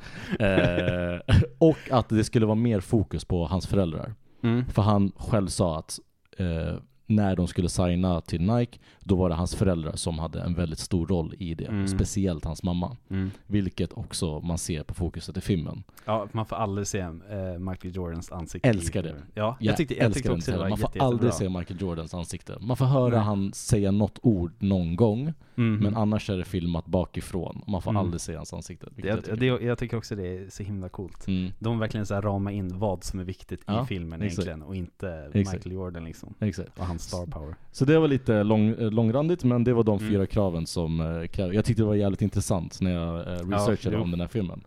S2: Eh, och att det skulle vara mer fokus på hans föräldrar.
S3: Mm.
S2: För han själv sa att eh, när de skulle signa till Nike, då var det hans föräldrar som hade en väldigt stor roll i det.
S3: Mm.
S2: Speciellt hans mamma.
S3: Mm.
S2: Vilket också man ser på fokuset i filmen.
S3: Ja, man får aldrig se eh, Michael Jordans ansikte.
S2: Älskar
S3: i-
S2: det.
S3: Ja, jag tyckte, jag
S2: älskar
S3: tyckte
S2: den
S3: också det var
S2: scenen. Man får
S3: jätte, jättebra.
S2: aldrig se Michael Jordans ansikte. Man får höra
S3: Nej.
S2: han säga något ord någon gång,
S3: Mhm.
S2: men annars är det filmat bakifrån. Och Man får
S3: Mm.
S2: aldrig se hans ansikte. vilket jag
S3: jag,
S2: tycker.
S3: det, jag tycker också det är så himla coolt.
S2: Mm,
S3: De verkligen så här ramar in vad som är viktigt i
S2: Ja,
S3: filmen
S2: exakt.
S3: egentligen och inte
S2: Exakt.
S3: Michael Jordan liksom.
S2: exakt.
S3: Och hans star power.
S2: Så det var lite lång, eh, långrandigt, men det var de
S3: Mm.
S2: fyra kraven som eh, kräv, Jag tyckte det var jävligt intressant när jag eh, researchade
S3: jo.
S2: om den här filmen.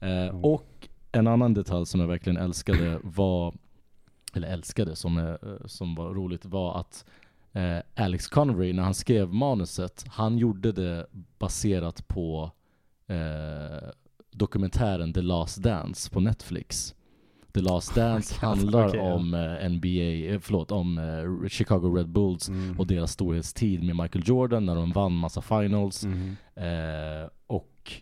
S2: Eh,
S3: Mm.
S2: Och en annan detalj som jag verkligen älskade var, eller älskade, som, eh, som var roligt var att eh, Alex Connery, när han skrev manuset, han gjorde det baserat på eh, dokumentären The Last Dance på Netflix. The Last Dance
S3: Oh God,
S2: handlar
S3: okej, ja.
S2: om eh, NBA, eh, förlåt, om eh, Chicago Red Bulls
S3: Mm.
S2: och deras storhetstid med Michael Jordan när de vann massa finals.
S3: Mhm.
S2: Eh, och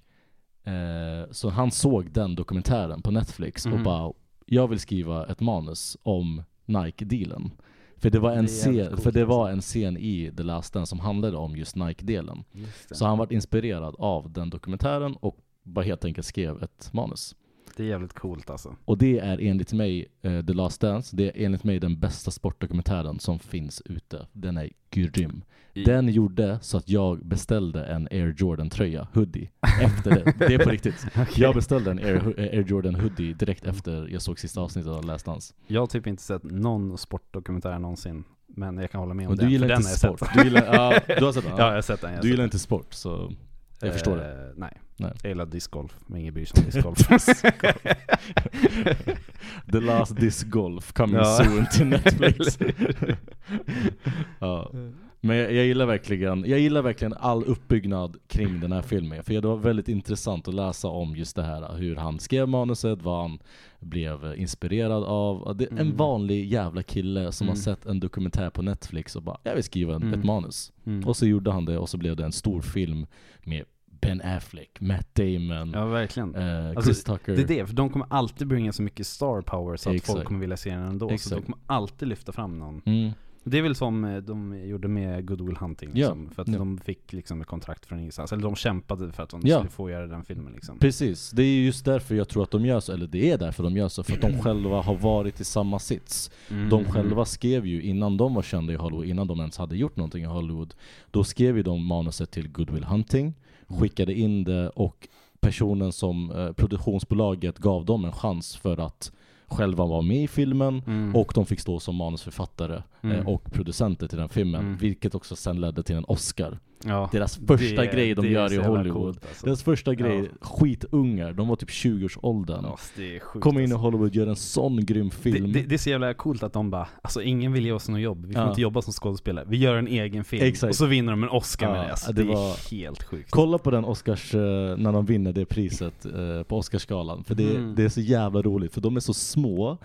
S2: eh, Så han såg den dokumentären på Netflix
S3: Mhm.
S2: och bara, jag vill skriva ett manus om Nike-dealen. För det, var
S3: Det är
S2: en
S3: jävligt
S2: scen,
S3: coolt
S2: för det var
S3: alltså.
S2: en scen i The Last Dance som handlade om just Nike-delen.
S3: Just det.
S2: Så han var inspirerad av den dokumentären och bara helt enkelt skrev ett manus.
S3: det är jävligt coolt alltså.
S2: Och det är enligt mig, eh, The Last Dance, det är enligt mig den bästa sportdokumentären som finns ute. Den är grym.
S3: I-
S2: Den gjorde så att jag beställde en Air Jordan-tröja, hoodie, efter det. Det är på riktigt. Jag beställde en Air, eh, Air Jordan-hoodie direkt efter jag såg sista avsnittet av Last Dance.
S3: Jag har typ inte sett någon sportdokumentär någonsin, men jag kan hålla med om
S2: Men
S3: den.
S2: du
S3: för
S2: gillar
S3: den
S2: inte
S3: har jag sett.
S2: sport. Du, gillar, ja, du har sett den?
S3: Ja, jag
S2: Ja.
S3: har sett den. Jag har
S2: Du
S3: sett
S2: gillar
S3: den.
S2: inte sport, så jag förstår det.
S3: Eh, Nej.
S2: Nej. Mm.
S3: Jag gillar discgolf, men ingen bryr sig om discgolf.
S2: The Last Disc Golf coming
S3: Ja.
S2: soon till Netflix. ja. Men jag, jag, gillar verkligen, jag gillar verkligen all uppbyggnad kring den här filmen. För det var väldigt intressant att läsa om just det här hur han skrev manuset, vad han blev inspirerad av. Det, En
S3: Mm.
S2: vanlig jävla kille som
S3: Mm.
S2: har sett en dokumentär på Netflix och bara jag vill skriva en,
S3: Mm.
S2: ett manus.
S3: Mm.
S2: Och så gjorde han det och så blev det en stor film med Ben Affleck, Matt Damon,
S3: Ja, verkligen.
S2: eh,
S3: Alltså,
S2: Chris Tucker.
S3: Det är det, för de kommer alltid bringa så mycket star power så att folk
S2: Exakt.
S3: kommer vilja se den ändå. Så de
S2: Exakt.
S3: kommer alltid lyfta fram någon.
S2: Mm.
S3: Det är väl som eh, de gjorde med Goodwill Hunting
S2: Ja,
S3: liksom, För att
S2: ja.
S3: de fick liksom ett kontrakt från ingenstans. Eller de kämpade för att de
S2: Ja.
S3: skulle få göra den filmen liksom.
S2: Precis, det är ju just därför jag tror att de gör så, eller det är därför de gör så, för att de själva har varit i samma sits.
S3: Mm.
S2: De själva skrev ju, innan de var kända i Hollywood, innan de ens hade gjort någonting i Hollywood, då skrev ju de manuset till Goodwill Hunting, skickade in det och personen som, eh, produktionsbolaget gav dem en chans för att själva vara med i filmen
S3: Mm.
S2: och de fick stå som manusförfattare
S3: Mm.
S2: eh, och producenter till den filmen,
S3: Mm.
S2: vilket också sen ledde till en Oscar.
S3: ja.
S2: Deras första
S3: Det-
S2: grej de
S3: det är
S2: gör
S3: så
S2: i
S3: jävla
S2: Hollywood.
S3: coolt, alltså.
S2: Deras första grej,
S3: Ja.
S2: skitungar, de var typ 20-årsåldern.
S3: Ja, det är sjukt.
S2: Kommer in i
S3: alltså.
S2: Hollywood, gör en sån grym film.
S3: det, det, det är så jävla coolt att de bara, alltså ingen vill ge oss något jobb, vi får
S2: Ja.
S3: inte jobba som skådespelare, vi gör en egen film.
S2: Exakt.
S3: Och så vinner de en Oscar med
S2: Ja,
S3: det. Alltså, det,
S2: det
S3: är
S2: var-
S3: helt sjukt.
S2: Kolla på den Oscars, eh, när de vinner det priset eh, på Oscarsgalan, för det,
S3: Mm.
S2: det är så jävla roligt, för de är så små,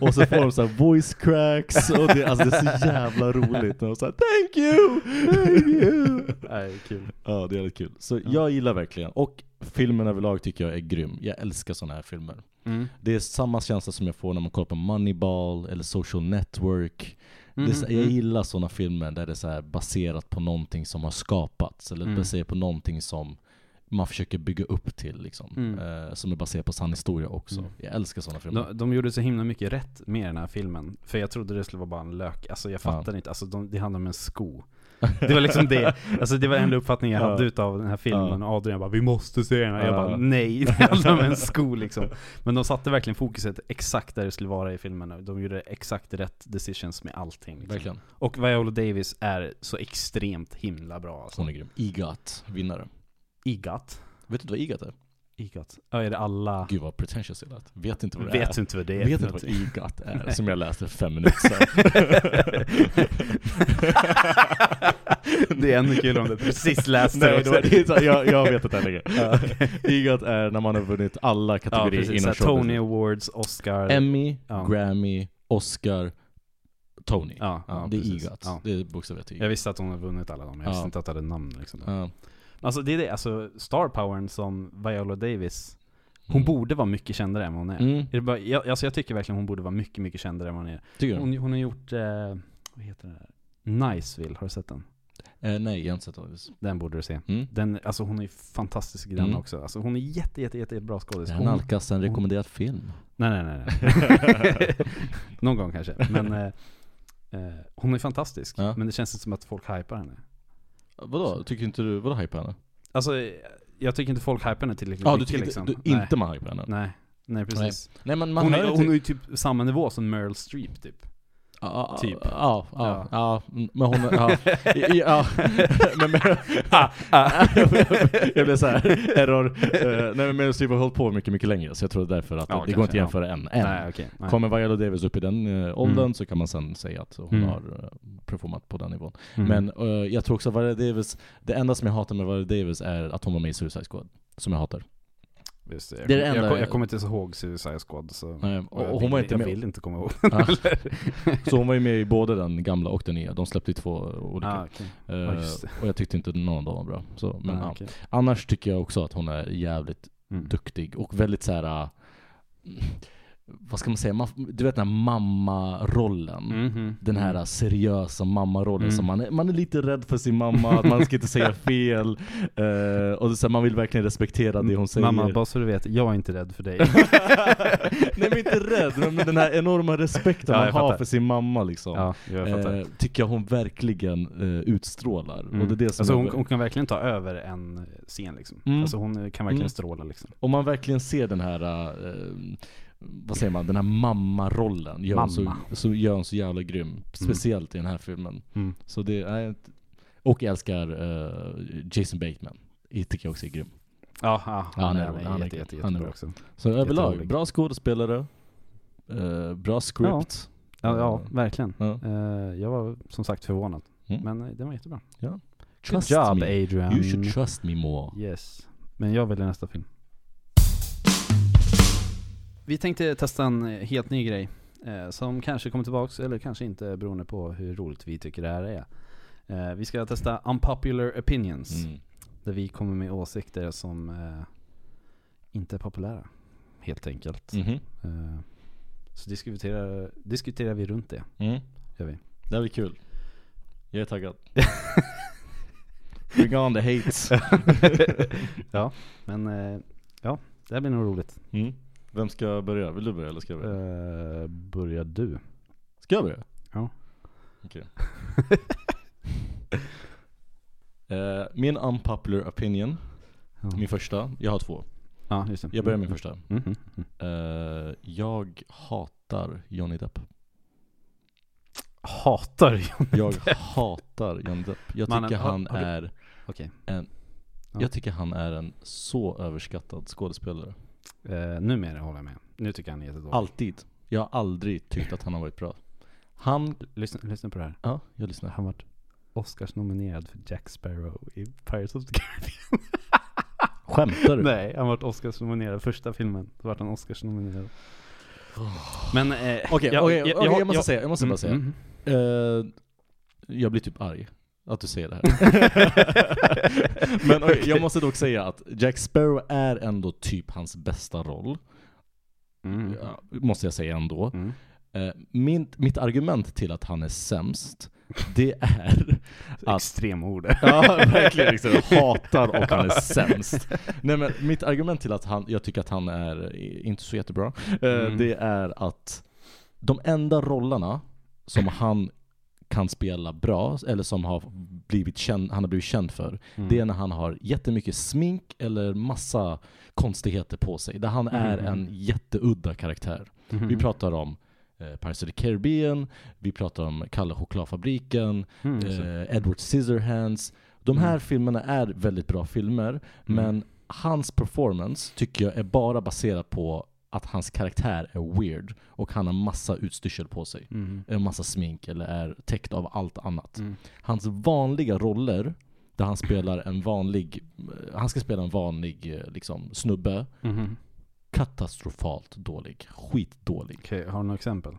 S2: och så får de så här voice cracks, och det, alltså det är så jävla roligt när de säger 'Thank you! Thank you!'
S3: Nej, kul.
S2: Ja, det är väldigt kul. Så jag gillar verkligen, och filmen överlag tycker jag är grym. Jag älskar sådana här filmer.
S3: Mm.
S2: Det är samma känsla som jag får när man kollar på Moneyball eller Social Network.
S3: Mm,
S2: det är, så- jag
S3: mm.
S2: gillar sådana filmer där det är så här baserat på någonting som har skapats, eller
S3: Mm.
S2: baserat på någonting som man försöker bygga upp till, liksom.
S3: Mm.
S2: Eh, som är baserat på sann historia också.
S3: Mm.
S2: Jag älskar sådana filmer.
S3: De, de gjorde så himla mycket rätt med den här filmen. För jag trodde det skulle vara bara en lök. Alltså jag
S2: Ja.
S3: fattade inte. Alltså de, det handlade om en sko. Det var liksom det. Alltså det var den enda uppfattningen jag
S2: Ja.
S3: hade utav den här filmen.
S2: Ja.
S3: Och Adrian bara 'Vi måste se den här' Jag
S2: Ja.
S3: bara 'Nej, det handlar om en sko' liksom. Men de satte verkligen fokuset exakt där det skulle vara i filmen. De gjorde exakt rätt decisions med allting. Liksom.
S2: Verkligen.
S3: Och Viola Davis är så extremt himla bra alltså.
S2: Hon är grym. EGOT, vinnare.
S3: Igat.
S2: Vet du inte vad EGOT är?
S3: Igat. Ja, är det alla?
S2: Gud vad pretentious det lät. Vet inte vad det
S3: Vet
S2: är.
S3: inte vad det är
S2: Vet
S3: för
S2: inte vad
S3: något.
S2: EGOT är,
S3: Nej.
S2: som jag läste för fem minuter sedan.
S3: det är ännu kul om du precis läste
S2: Nej,
S3: också.
S2: det var, det är så här, jag, jag vet att det är länge. EGOT är när man har vunnit alla
S3: Ja,
S2: kategorier
S3: precis. Så
S2: inom
S3: här, Tony
S2: showbiz.
S3: Awards, Oscar.
S2: Emmy,
S3: Ja.
S2: Grammy, Oscar, Tony.
S3: ja,
S2: Ja,
S3: ja,
S2: det är
S3: precis.
S2: EGOT.
S3: Ja.
S2: Det är bokstavligt
S3: Jag
S2: EGOT.
S3: visste att hon hade vunnit alla dem, jag
S2: Typ. Ja.
S3: visste inte att det hade namn liksom.
S2: Ja.
S3: Alltså det är det, alltså star powern som Viola Davis, hon
S2: Mm.
S3: borde vara mycket kändare än vad hon är.
S2: Mm.
S3: Är det bara, jag, alltså jag tycker verkligen hon borde vara mycket, mycket kändare än vad hon är.
S2: Tycker du?
S3: Hon, hon har gjort, eh, vad heter den där? Niceville, har du sett den?
S2: Eh, nej, jag har inte sett Elvis.
S3: Den borde du se.
S2: Mm.
S3: Den, alltså hon är ju fantastisk i den
S2: Mm.
S3: också. Alltså hon är jätte, jätte, jätte bra
S2: Det
S3: skådis.
S2: här
S3: Hon-
S2: nalkas en rekommenderad film.
S3: Nej, nej, nej. nej. Någon gång kanske. Men eh, eh, hon är fantastisk.
S2: Ja.
S3: Men det känns inte som att folk hypar henne.
S2: Vadå? Tycker inte du, vadå hype henne?
S3: Alltså, eh, jag tycker inte folk hypar henne tillräckligt
S2: Ja, ah, du
S3: mycket
S2: tycker
S3: liksom.
S2: du,
S3: nej.
S2: inte man hypar henne?
S3: Nej. Nej, precis.
S2: Nej men man
S3: Hon,
S2: hör
S3: är,
S2: ju
S3: hon är
S2: typ-
S3: ju typ samma nivå som Meryl Streep typ.
S2: Ja, ja,
S3: typ.
S2: Ja, ja,
S3: Ja.
S2: ja. mm, Men hon, ja. I- i- ja. Men, men,
S3: Ah, ah.
S2: jag blev såhär, error. Eh, nej men Meryl Streep har hållit på mycket, mycket längre. Så jag tror det är därför att
S3: Ja,
S2: det
S3: kanske,
S2: går inte att jämföra än. än.
S3: Nej, okej. nej.
S2: Kommer Viola Davis upp i den eh, åldern
S3: Mm.
S2: så kan man sen säga att hon
S3: Mm.
S2: har eh, performat på den nivån.
S3: Mm.
S2: Men eh, jag tror också att Viola Davis, det enda som jag hatar med Viola Davis är att hon var med i Suicide Squad. Som jag hatar.
S3: Just det, jag,
S2: det är
S3: kom-
S2: det
S3: jag,
S2: enda-
S3: kom- jag kommer inte ens ihåg Suicide Squad så...
S2: Eh, och,
S3: Mm. jag
S2: och
S3: vill-
S2: hon var inte
S3: jag
S2: med.
S3: vill inte komma ihåg.
S2: Ja. Så hon var ju med i både den gamla och den nya. De släppte ju två olika.
S3: Ah, okej.
S2: Eh,
S3: just det.
S2: och jag tyckte inte någon av dem var bra. Så, men,
S3: Ah,
S2: ja.
S3: okej.
S2: Annars tycker jag också att hon är jävligt
S3: Mm.
S2: duktig och väldigt så här. äh, vad ska man säga, man, du vet den här mammarollen.
S3: Mhm.
S2: Den här äh, seriösa mammarollen
S3: Mm.
S2: som man är, man är lite rädd för sin mamma, att man ska inte säga fel. eh, och det är så här, man vill verkligen respektera det hon säger.
S3: Mm. Mamma, bara så du vet, jag är inte rädd för dig.
S2: Nej men inte rädd, men den här enorma respekten
S3: Ja,
S2: man
S3: jag
S2: har
S3: fattar.
S2: för sin mamma liksom.
S3: ja, jag fattar.
S2: eh, tycker jag hon verkligen eh, utstrålar.
S3: Mm.
S2: Och det är det som
S3: alltså
S2: jag-
S3: hon, hon kan verkligen ta över en scen liksom.
S2: Mm.
S3: Alltså hon kan verkligen
S2: Mm.
S3: stråla liksom.
S2: Om man verkligen ser den här, eh, vad säger man, den här mammarollen. Gör hon så,
S3: Mamma.
S2: så gör hon så jävla grym. Speciellt i den här filmen.
S3: Mm.
S2: Så det är, ett- och jag älskar eh, Jason Bateman. Det tycker jag också är grym.
S3: Ja, ja,
S2: Ja,
S3: han,
S2: han
S3: är,
S2: är-
S3: han är,
S2: han är-
S3: jätte, jätte,
S2: han är
S3: jättebra
S2: bra.
S3: också.
S2: Så överlag,
S3: rolig.
S2: bra skådespelare. eh, bra script.
S3: Ja, ja
S2: Mm.
S3: verkligen.
S2: Ja.
S3: Eh, jag var som sagt förvånad.
S2: Mm.
S3: Men eh, den var jättebra.
S2: Trust
S3: Good job
S2: me.
S3: Adrian.
S2: You should trust me more.
S3: yes. Men jag väljer nästa film. Vi tänkte testa en eh, helt ny grej. Eh, som kanske kommer tillbaks, eller kanske inte beroende på hur roligt vi tycker det här är. Eh, vi ska testa Unpopular Opinions.
S2: Mm.
S3: Där vi kommer med åsikter som eh, inte är populära, helt enkelt.
S2: Mhm.
S3: Eh, så diskuterar, diskuterar vi runt det,
S2: Mm.
S3: gör vi.
S2: Det här blir kul. Jag är taggad. Bring on the hate.
S3: ja, men eh, ja, det här blir nog roligt.
S2: Mm. Vem ska börja? Vill du börja eller ska jag börja?
S3: Eh, börjar du?
S2: Ska jag börja?
S3: Ja.
S2: Okej. Eh, min unpopular opinion,
S3: Ja.
S2: min första. Jag har två.
S3: Ja, just det.
S2: Jag börjar med min första.
S3: Mm, mm, mm.
S2: Eh, jag hatar Johnny Depp.
S3: Hatar Johnny
S2: Jag
S3: Depp.
S2: hatar Johnny Depp. Jag
S3: Mannen,
S2: tycker
S3: har-
S2: han
S3: har du-
S2: är
S3: Okej.
S2: en
S3: Ja.
S2: Jag tycker han är en så överskattad skådespelare.
S3: Eh, numera håller jag med. Nu tycker jag han är jättedålig.
S2: Alltid. Jag har aldrig tyckt att han har varit bra. Han,
S3: Lyssna, lyssna på det här.
S2: ja, jag lyssnar.
S3: Han vart Oscars-nominerad för Jack Sparrow i Pirates of the Caribbean.
S2: Skämtar du?
S3: Nej, han vart Oscars-nominerad första filmen. Då vart han Oscars-nominerad. Men... eh,
S2: Okej,
S3: jag-
S2: okej,
S3: jag-
S2: okej,
S3: jag-
S2: jag måste
S3: jag-
S2: säga, jag måste bara
S3: Mm,
S2: säga.
S3: mm.
S2: Eh, jag blir typ arg att du säger det här.
S3: mm.
S2: Men okej, jag måste dock säga att Jack Sparrow är ändå typ hans bästa roll.
S3: Mm.
S2: Ja, måste jag säga ändå.
S3: Mm.
S2: Eh, min, mitt argument till att han är sämst, det är att
S3: Extremord.
S2: Ja, verkligen. Liksom, jag hatar och han är sämst. Nej men mitt argument till att han, jag tycker att han är i- inte så jättebra, eh,
S3: Mm.
S2: det är att de enda rollerna som han kan spela bra, eller som har blivit känd, han har blivit känd för, det är när han har jättemycket smink eller massa konstigheter på sig. Där han är
S3: Mhm.
S2: en jätteudda karaktär. Vi pratar om eh, Pirates of the Caribbean, vi pratar om Kalle Chokladfabriken,
S3: Mm, just det.
S2: eh, Edward Scissorhands. De här
S3: Mm.
S2: filmerna är väldigt bra filmer, men hans performance tycker jag är bara baserad på att hans karaktär är weird och han har massa utstyrsel på sig.
S3: Mm.
S2: En massa smink eller är täckt av allt annat.
S3: Mm.
S2: Hans vanliga roller, där han spelar en vanlig, eh, han ska spela en vanlig eh, liksom, snubbe,
S3: Mhm.
S2: katastrofalt dålig. Skitdålig.
S3: Okej, har du några exempel?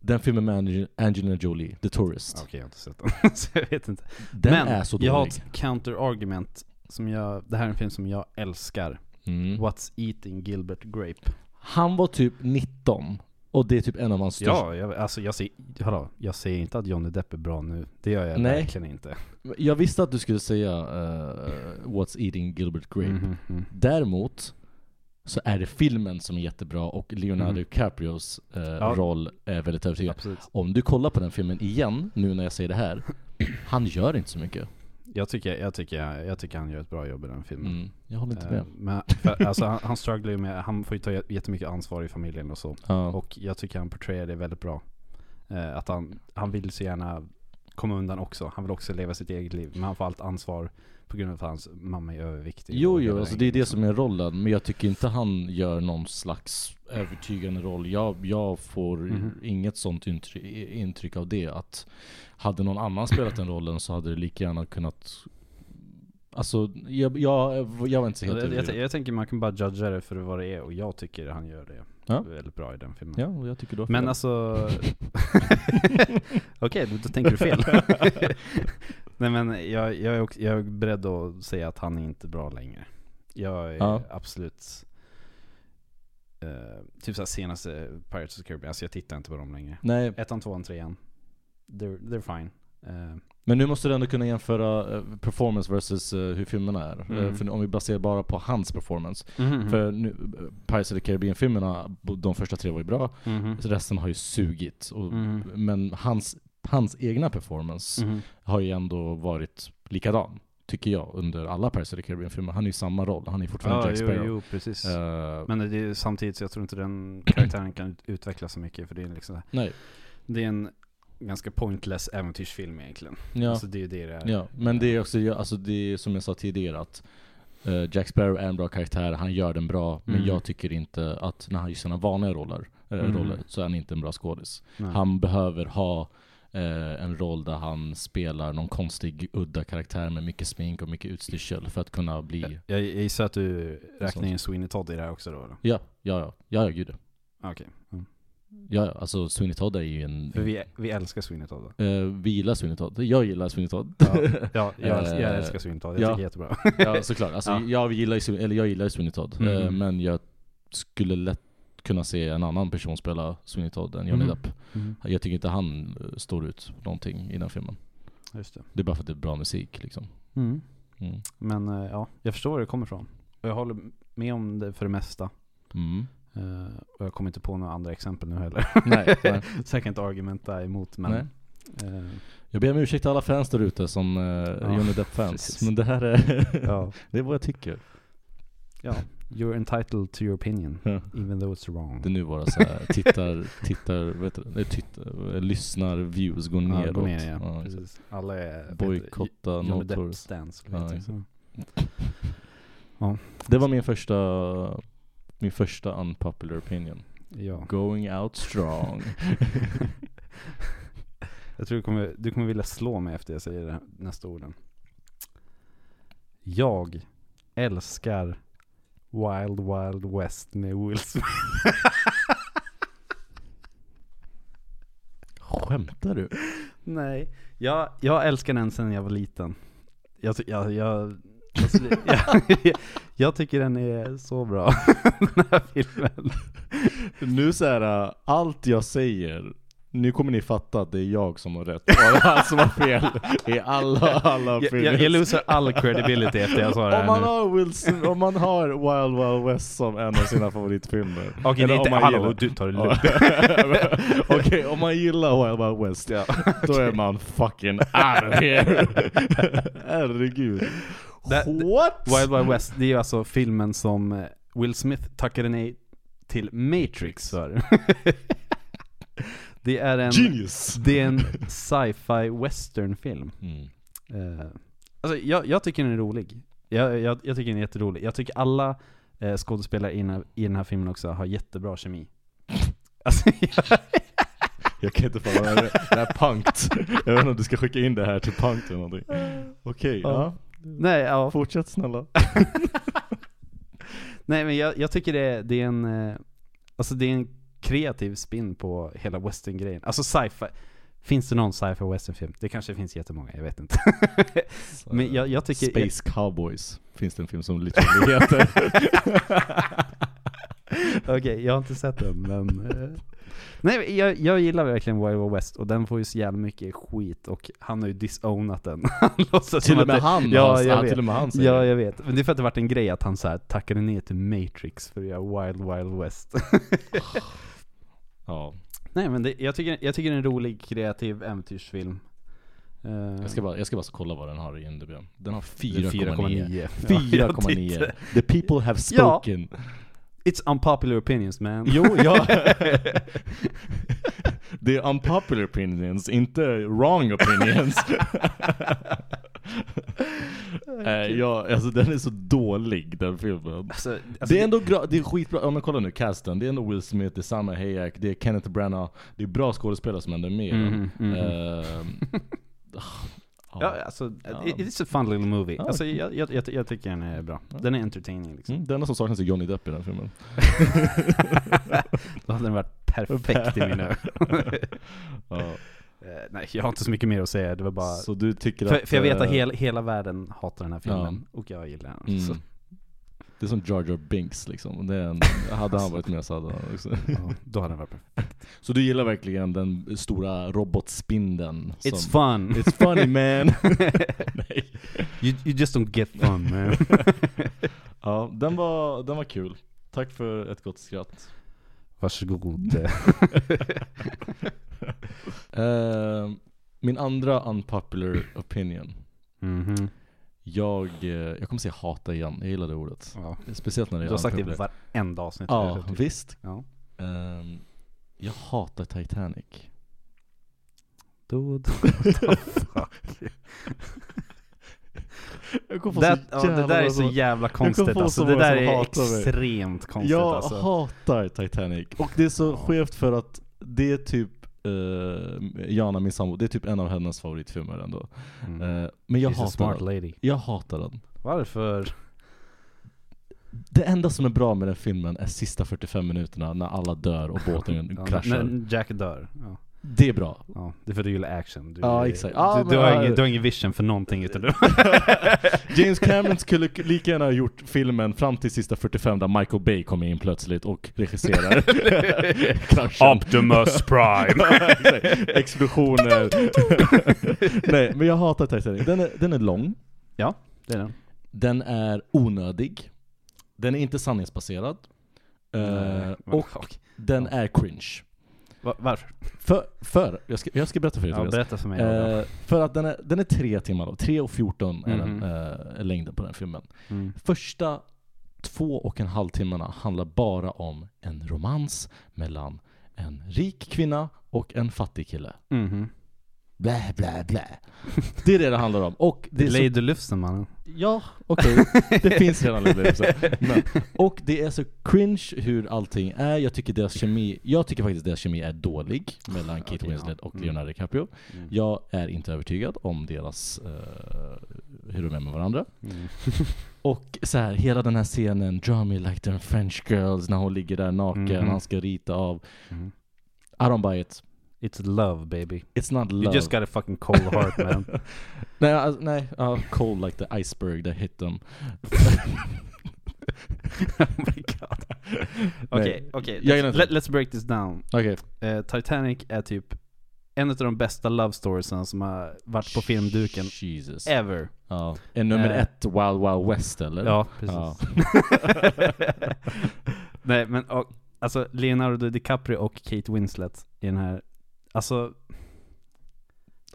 S2: Den filmen med Ange- Angelina Jolie, The Tourist,
S3: Okej, jag har inte sett den. så jag vet inte.
S2: den
S3: Men
S2: är så
S3: jag har
S2: dålig.
S3: ett counter-argument som jag, det här är en film som jag älskar.
S2: Mm.
S3: What's Eating Gilbert Grape.
S2: Han var typ 19 och det är typ en av hans största...
S3: Ja, jag, alltså jag ser, hallå, jag säger inte att Johnny Depp är bra nu. Det gör jag
S2: Nej.
S3: verkligen inte.
S2: Jag visste att du skulle säga eh, What's Eating Gilbert Grape.
S3: Mhm, mm.
S2: Däremot så är det filmen som är jättebra och Leonardo
S3: Mhm.
S2: DiCaprios eh,
S3: Ja.
S2: roll är väldigt övertygande.
S3: Absolut.
S2: Om du kollar på den filmen igen, nu när jag säger det här, han gör inte så mycket.
S3: Jag tycker, jag, tycker, jag tycker han gör ett bra jobb i den filmen.
S2: Mm. Jag håller inte
S3: Eh,
S2: med.
S3: Men, för, alltså, han, han strugglar ju med, han får ju ta jä- jättemycket ansvar i familjen och så.
S2: Ja.
S3: Och jag tycker han portrayar det väldigt bra. Eh, att han, han vill så gärna komma undan också. Han vill också leva sitt eget liv. Men han får allt ansvar på grund av att hans mamma är överviktig.
S2: Jo,
S3: och
S2: jo,
S3: hela
S2: alltså det
S3: den
S2: är det som är rollen, men jag tycker inte han gör någon slags övertygande roll. Jag, jag får
S3: Mhm.
S2: inget sånt intry- intryck av det, att hade någon annan spelat den rollen så hade det lika gärna kunnat... Alltså, jag, jag, jag var inte så helt
S3: jag, jag,
S2: övertygad.
S3: jag tänker man kan bara judga det för vad det är och jag tycker han gör det
S2: Ja.
S3: väldigt bra i den filmen.
S2: Ja, och jag tycker du har
S3: Men
S2: fel.
S3: alltså... Okej, då, då tänker du fel. Nej men jag, jag, är också, jag är beredd att säga att han är inte bra längre. Jag är
S2: Ja.
S3: absolut... eh, typ såhär senaste Pirates of the Caribbean, alltså jag tittar inte på dem längre.
S2: Nej,
S3: Ettan, tvåan, trean. They're, they're fine. Eh,
S2: men nu måste du ändå kunna jämföra eh, performance versus eh, hur filmerna är. Eh,
S3: Mm.
S2: För om vi baserar bara på hans performance. Mm-hmm. För nu, eh, Pirates of the Caribbean-filmerna, de första tre var ju bra,
S3: Mhm.
S2: så resten har ju sugit. Och
S3: Mhm.
S2: Men hans, hans egna performance
S3: Mhm.
S2: har ju ändå varit likadan, tycker jag, under alla Pirates of the Caribbean-filmer. Han är ju samma roll, han är fortfarande
S3: Ja,
S2: Jack
S3: jo,
S2: Sparrow.
S3: jo, precis.
S2: Eh,
S3: Men det är, samtidigt så jag tror inte den karaktären kan ut- utvecklas så mycket för det är liksom så här-
S2: nej,
S3: Det är en ganska pointless äventyrsfilm egentligen.
S2: ja,
S3: Alltså det är ju det det är.
S2: ja. Men det är också, ja, alltså det är som jag sa tidigare att eh, Jack Sparrow är en bra karaktär, han gör den bra, men
S3: Mm.
S2: jag tycker inte att när han gör sina vanliga roller, eh,
S3: Mm.
S2: roller så är han inte en bra skådis.
S3: Nej.
S2: Han behöver ha eh, en roll där han spelar någon konstig, udda karaktär med mycket smink och mycket utstyrsel för att kunna bli...
S3: Jag, jag gissar att du räknar
S2: Sånt.
S3: in Sweeney Todd i det här också då? eller?
S2: Ja, ja, ja, ja, ja gud.
S3: Ah, Okej. Mm.
S2: Ja, alltså Sweeney Todd är ju en...
S3: För vi, vi älskar Sweeney Todd.
S2: Eh, vi gillar Sweeney Todd. Jag gillar Sweeney Todd.
S3: Ja, ja jag, älskar, jag
S2: Eh,
S3: älskar Sweeney Todd. Jag
S2: ja.
S3: tycker det är jättebra.
S2: ja, såklart. Alltså,
S3: Ja.
S2: jag gillar ju Sweeney- eller jag gillar ju Sweeney Todd.
S3: Mm.
S2: Eh, men jag skulle lätt kunna se en annan person spela Sweeney Todd än Johnny
S3: Mm.
S2: Depp. Jag tycker inte han eh, står ut någonting i den här filmen.
S3: Just det.
S2: Det är bara för att det är bra musik liksom. Mm.
S3: Men eh, ja, jag förstår var det kommer ifrån. Och jag håller med om det för det mesta.
S2: Mm.
S3: Eh, och jag kommer inte på några andra exempel nu heller.
S2: Nej, nej.
S3: Så jag kan inte argumenta emot men...
S2: Nej.
S3: eh,
S2: Jag ber om ursäkt till alla fans där ute som eh, Johnny Depp-fans.
S3: precis.
S2: Men det här är,
S3: ja,
S2: det är vad jag tycker.
S3: ja, you're entitled to your opinion.
S2: Ja.
S3: Even though it's wrong.
S2: Det är nu våra så här, tittar, tittar, vet du, nej, tittar, eh, lyssnar, views går
S3: Ja,
S2: neråt.
S3: gå ner, ja.
S2: Ja, exakt.
S3: Precis. Alla är...
S2: Bojkotta
S3: Johnny
S2: notor.
S3: Depp stance.
S2: Ja,
S3: Ja,
S2: exakt.
S3: liksom.
S2: Det var min första, min första unpopular opinion.
S3: ja.
S2: Going out strong.
S3: Jag tror du kommer, du kommer vilja slå mig efter jag säger det här, nästa orden. Jag älskar Wild Wild West med Will Smith.
S2: Skämtar du?
S3: Nej, jag, jag älskar den sedan jag var liten. Jag, ty- jag, jag, alltså, det- jag, jag, jag tycker den är så bra, den här filmen.
S2: Nu så här, äh, allt jag säger, nu kommer ni fatta att det är jag som har rätt och det är han som har fel i alla, alla
S3: Jag, jag, jag loser all credibility efter jag sa det
S2: om man,
S3: här nu.
S2: har Will Smith, om man har Wild Wild West som en av sina favoritfilmer.
S3: Okej,
S2: Eller
S3: det är
S2: om
S3: inte,
S2: man
S3: hallå,
S2: gillar-
S3: du tar det
S2: Ja.
S3: lugnt.
S2: Okej, om man gillar Wild Wild West, då är man fucking out of here. Herregud.
S3: Det- det-
S2: What?
S3: Wild Wild West, det är ju alltså filmen som eh, Will Smith tackade nej till Matrix för. det är en,
S2: Genius!
S3: det är en sci-fi western-film.
S2: Mm.
S3: Eh, alltså jag, jag tycker den är rolig. Jag, jag, jag tycker den är jätterolig. Jag tycker alla eh, skådespelare i den, här, i den här filmen också har jättebra kemi. Alltså, jag,
S2: Jag kan inte fatta, det här- det här är punkt. Jag vet inte om du ska skicka in det här till punkt eller någonting. Okej, ja.
S3: Ja. nej, ja.
S2: Fortsätt snälla.
S3: nej men jag, jag tycker det, är- det är en, eh, alltså det är en kreativ spin på hela western-grejen. Alltså sci-fi. Finns det någon sci-fi western-film? Det kanske finns jättemånga, jag vet inte. men jag, jag tycker...
S2: Space Cowboys finns det en film som literally heter.
S3: Okej, jag har inte sett den men... eh. Nej men jag, jag gillar verkligen Wild Wild West och den får ju så jävla mycket skit och han har ju disownat den. Han låtsas som
S2: till och
S3: att
S2: med
S3: det-
S2: han,
S3: Ja,
S2: han,
S3: jag
S2: han
S3: vet.
S2: till och med han säger
S3: Ja
S2: det.
S3: jag vet, men det är för att det varit en grej att han så här tackade ner till Matrix för att göra Wild Wild West.
S2: ja.
S3: Nej men det, jag, tycker, jag tycker det är en rolig kreativ äventyrsfilm. Eh,
S2: Jag ska, bara, jag ska bara kolla vad den har i IMDB. Den har
S3: det är
S2: 4,9.
S3: 4,9. Ja, jag
S2: 4,9.
S3: tyckte-
S2: The people have
S3: Ja.
S2: spoken.
S3: It's unpopular opinions man.
S2: Jo, ja. Det är unpopular opinions, inte wrong opinions. Nej, ja, alltså den är så dålig den filmen.
S3: Alltså, alltså,
S2: det är ändå gra- det är skitbra, ja, men kolla nu casten, det är ändå Will Smith, det är Salma Hayek, det är Kenneth Branagh, det är bra skådespelare som ändå är med i den.
S3: Mhm, mhm.
S2: Ehm, ja.
S3: Ja, alltså,
S2: Ja.
S3: it- it's a fun little movie.
S2: Ja.
S3: Alltså, jag, jag, jag, jag tycker den är bra. Den är entertaining liksom.
S2: Mm, det enda som saknas är Johnny Depp i den filmen.
S3: Då hade den varit perfekt i mina ögon.
S2: Ja.
S3: Eh, Nej, jag har inte så mycket mer att säga. Det var bara...
S2: Så du tycker
S3: för,
S2: att...
S3: för jag vet att
S2: eh,
S3: hela, hela världen hatar den här filmen, och jag gillar den.
S2: Mm.
S3: Så,
S2: Det är som Jar Jar Binks liksom. Det är en, hade han varit med så hade han också.
S3: ja, då hade den varit perfekt.
S2: Så du gillar verkligen den stora robotspindeln? som-
S3: It's fun!
S2: It's funny man! Nej.
S3: You, you just don't get fun man.
S2: Ja, den var, den var kul. Tack för ett gott skratt.
S3: Varsågod.
S2: Eh, min andra unpopular opinion.
S3: Mhm.
S2: Jag, eh, jag kommer säga hata igen, jag gillar det ordet.
S3: ja.
S2: Speciellt när det
S3: Du
S2: är
S3: har sagt det i
S2: unpopular.
S3: varenda avsnitt.
S2: Ja, visst.
S3: ja.
S2: Ehm, jag hatar Titanic.
S3: Då, då.
S2: Jag kommer få
S3: That,
S2: så
S3: ja,
S2: jävla
S3: det där är så
S2: många-
S3: jävla
S2: kommer
S3: konstigt
S2: få
S3: alltså.
S2: så
S3: Det
S2: många
S3: där
S2: som
S3: är
S2: hatar mig.
S3: extremt konstigt
S2: Jag
S3: alltså.
S2: hatar Titanic. Och det är så skevt för att det är typ eh, Jana, min sambo, det är typ en av hennes favoritfilmer ändå.
S3: Mm.
S2: Eh, men jag
S3: She's a
S2: hatar
S3: smart
S2: den.
S3: lady.
S2: Jag hatar den.
S3: Varför?
S2: Det enda som är bra med den filmen är sista 45 minuterna när alla dör och båten
S3: Ja,
S2: kraschar.
S3: när Jack dör. Ja.
S2: Det är bra.
S3: Ja, det är för du gillar action. Du,
S2: Ja, exakt. Ja,
S3: du, du,
S2: men-
S3: har ingen, du har ingen vision för någonting utan du...
S2: James Cameron skulle k- lika gärna ha gjort filmen fram till sista 45 där Michael Bay kommer in plötsligt och regisserar kraschen.
S3: Optimus Prime!
S2: Exakt. Explosioner. Nej, men jag hatar Titanic. Den är, den är lång.
S3: det är den.
S2: Den är onödig. Den är inte sanningsbaserad. Eh,
S3: Nej, men-
S2: och den är cringe.
S3: Va- Varför?
S2: För, för jag, ska, jag ska berätta för er
S3: Ja,
S2: Tobias.
S3: berätta för mig.
S2: Eh, för att den är, den är tre timmar då. Tre och 14 är den,
S3: Mhm.
S2: eh, längden på den filmen.
S3: mm.
S2: Första två och en halv timmarna handlar bara om en romans mellan en rik kvinna och en fattig kille.
S3: Mhm.
S2: Blä, blä, blä. Det är det det handlar om. Och det är så,
S3: Lady Lufsen mannen.
S2: ja, okej. Det finns redan upplevelser. Men, och det är så cringe hur allting är. Jag tycker deras kemi, jag tycker faktiskt deras kemi är dålig mellan Kate
S3: Okej, ja.
S2: Winslet och
S3: Mm.
S2: Leonardo DiCaprio.
S3: Mm.
S2: Jag är inte övertygad om deras, eh, hur de är med varandra.
S3: Mm.
S2: Och så här, hela den här scenen, Draw me like the French girls, när hon ligger där naken,
S3: Mhm.
S2: han ska rita av.
S3: Mhm.
S2: I don't buy it.
S3: It's love baby.
S2: It's not
S3: You
S2: love.
S3: just got a fucking cold heart man.
S2: Nej, alltså, nej, ja, cold like the iceberg that hit them.
S3: oh my god. Okej,
S2: Nej.
S3: okej.
S2: Jag gillar
S3: Let's,
S2: inte
S3: let, let's break this down.
S2: Okej,
S3: Eh, Titanic är typ en av de bästa love storiesen som har varit på filmduken
S2: Jesus.
S3: ever.
S2: Ja. Är nummer
S3: Eh.
S2: ett Wild Wild West eller?
S3: Ja,
S2: Ja.
S3: precis. Nej men och, alltså Leonardo DiCaprio och Kate Winslet i den här, alltså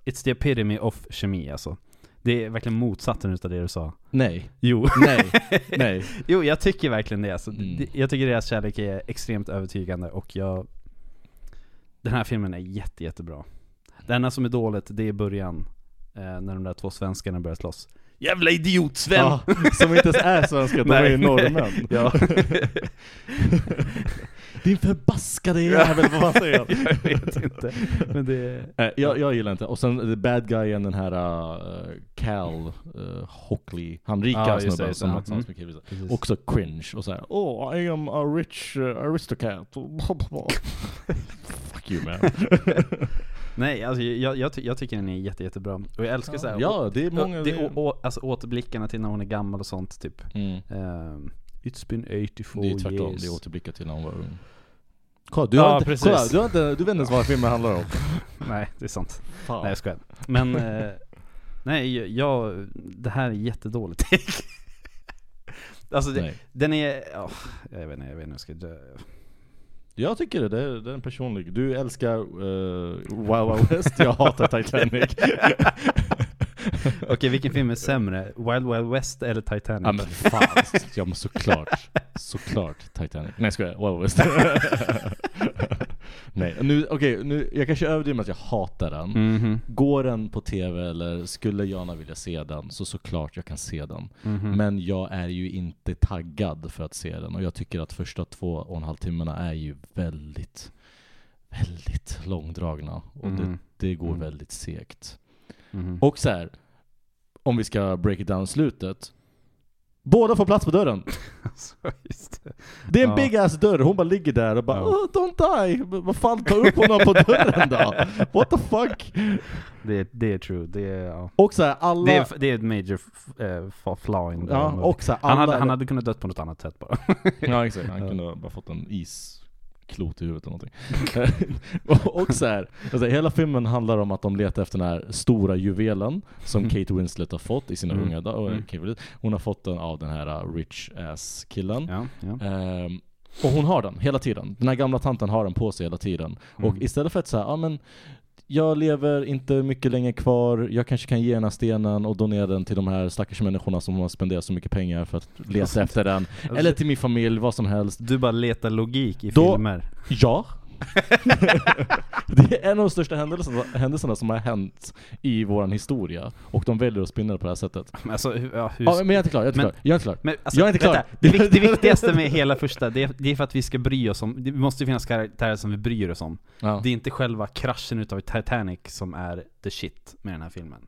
S3: It's the epitome of kemi alltså. Det är verkligen motsatsen utav det du sa.
S2: Nej,
S3: Jo.
S2: nej, nej.
S3: Jo, jag tycker verkligen det. Alltså,
S2: Mm.
S3: det- Jag tycker deras kärlek är extremt övertygande och jag... Den här filmen är jätte, jättebra. Det enda som är dåligt, det är början. Eh, när de där två svenskarna börjar slåss. Jävla idiot Sven!
S2: Ja, som inte ens är svenska, de är ju
S3: Nej.
S2: norrmän.
S3: Ja.
S2: Din förbaskade jävel, vad fan säger han?
S3: jag vet inte. Men det...
S2: Eh, jag, jag gillar inte, och sen the bad guyen den här eh, Cal uh, Hockley, han rika
S3: Ja, just det,
S2: snubben
S3: just det,
S2: som
S3: ja.
S2: har tillsammans med
S3: Mm.
S2: killen.
S3: Precis.
S2: Också cringe och såhär Oh I am a rich eh, aristocrat Fuck you man
S3: Nej, alltså, jag, jag, ty- jag tycker den är jätte, jättebra. Och jag älskar så här,
S2: Ja det är många
S3: det, å, å, alltså, återblickarna till när hon är gammal och sånt typ.
S2: mm.
S3: Ehm, It's been 84
S2: Det är tvärtom,
S3: years.
S2: det är återblickar till när hon var ung Kolla, du,
S3: Ja,
S2: har inte,
S3: precis.
S2: kolla du, har inte, du vet inte ens vad filmen handlar om
S3: Nej, det är sant.
S2: Fan.
S3: Nej jag skojar. Men, eh, nej jag, det här är jättedåligt Alltså det,
S2: Nej.
S3: den är, åh, jag vet inte, jag vet inte hur jag ska dö.
S2: Jag tycker det, det är, det är en personlig. Du älskar eh, Wild Wild West, jag hatar Titanic.
S3: Okej vilken film är sämre? Wild Wild West eller Titanic?
S2: ja men fan, ja men såklart. Såklart Titanic. Nej jag skojar, Wild Wild West. Nej, nu, okej, nu, jag kanske överdriver med att jag hatar den.
S3: Mhm,
S2: Går den på tv eller skulle jag gärna vilja se den så såklart jag kan se den.
S3: mhm.
S2: Men jag är ju inte taggad för att se den och jag tycker att första två och en halv timmarna är ju väldigt, väldigt långdragna. Och det,
S3: Mhm,
S2: det går
S3: Mm.
S2: väldigt segt.
S3: mhm.
S2: Och så här, om vi ska break it down slutet. Båda får plats på dörren.
S3: Alltså, just det.
S2: Det är en
S3: Ja.
S2: big ass dörr, hon bara ligger där och bara
S3: Ja.
S2: oh, don't die. Men Vad fan, ta upp honom på dörren då. What the fuck?
S3: Det, är- det är true, det är, ja.
S2: Och så här, alla...
S3: det, är, det är ett major f- eh, fa- flaw in the
S2: ja,
S3: movie.
S2: och så här, alla...
S3: han, hade, han hade kunnat dött på något annat sätt bara.
S2: Ja exakt, han
S3: Ja.
S2: kunde ha bara fått en isklot i huvudet eller någonting. och, och så här, alltså, hela filmen handlar om att de letar efter den här stora juvelen som
S3: Mm.
S2: Kate Winslet har fått i sina
S3: Mm.
S2: unga dagar.
S3: Mm.
S2: Kate Winslet. Hon har fått den av den här uh, rich ass killen.
S3: Ja, ja.
S2: Ehm, och hon har den hela tiden. Den här gamla tanten har den på sig hela tiden. Och
S3: Mm.
S2: istället för att säga, ja men jag lever inte mycket länge kvar, jag kanske kan ge den här stenen och donera den till de här stackars människorna som har spenderat så mycket pengar för att leta efter den.
S3: Alltså-
S2: Eller till min familj, vad som helst.
S3: Du bara letar logik i
S2: Då-
S3: filmer.
S2: Ja. det är en av de största händelserna, händelserna som har hänt i våran historia. Och de väljer att spinna det på det här sättet.
S3: Men Alltså, hur, ja, hur
S2: Ja, men jag är inte klar, jag är inte
S3: Men-
S2: klar. Jag är inte klar.
S3: Men alltså,
S2: Jag är inte klar.
S3: Vänta, det, vik- det viktigaste med hela första, det är, det är för att vi ska bry oss om, det måste ju finnas karaktärer som vi bryr oss om.
S2: Ja.
S3: Det är inte själva kraschen utav Titanic som är the shit med den här filmen.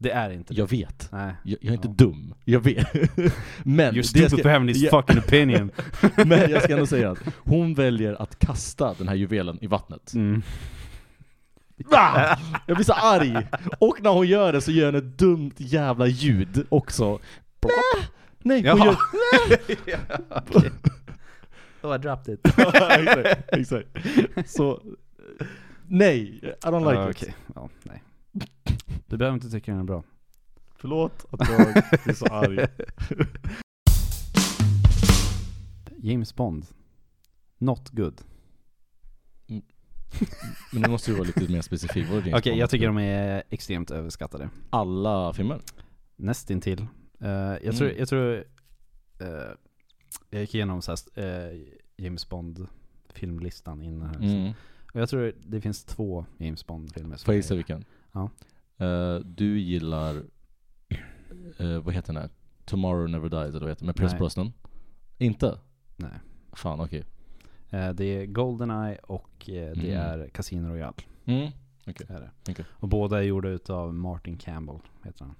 S3: Det är inte det.
S2: Jag vet.
S3: Nej.
S2: Jag, jag är inte
S3: Ja.
S2: dum. Jag vet. men,
S3: You're
S2: det
S3: stupid
S2: ska-
S3: for having this
S2: Ja.
S3: fucking opinion.
S2: men jag ska ändå säga att hon väljer att kasta den här juvelen i vattnet.
S3: Mm.
S2: Ah! Jag blir så arg! Och när hon gör det så gör hon ett dumt jävla ljud också. Blah! Nej, hon
S3: Jaha.
S2: gör...
S3: Oh I dropped it.
S2: exakt, exakt. Så... Nej, I don't like
S3: Ah,
S2: it.
S3: Okej, ja, nej. Du behöver inte tycka den är bra.
S2: Förlåt att jag blir så arg.
S3: James Bond. Not good.
S2: Men nu måste du vara lite mer specifik. Okej,
S3: Okej, jag tycker de är extremt överskattade.
S2: Alla filmer?
S3: Nästintill. Uh, jag, tror,
S2: Mm.
S3: jag tror, eh, jag gick igenom så här, eh, James Bond filmlistan innan här.
S2: Mm.
S3: Och jag tror det finns två James Bond filmer
S2: Får jag gissa vilken?
S3: Ja.
S2: Eh, du gillar, eh, vad heter den här? Tomorrow Never Dies eller vad heter den? Med Pierce
S3: Nej.
S2: Brosnan? Inte?
S3: Nej.
S2: Fan okej.
S3: Eh, det är Goldeneye och eh, det
S2: Mm.
S3: är Casino Royale.
S2: Mm.
S3: Är det.
S2: Okej.
S3: Och båda är gjorda utav Martin Campbell, heter han.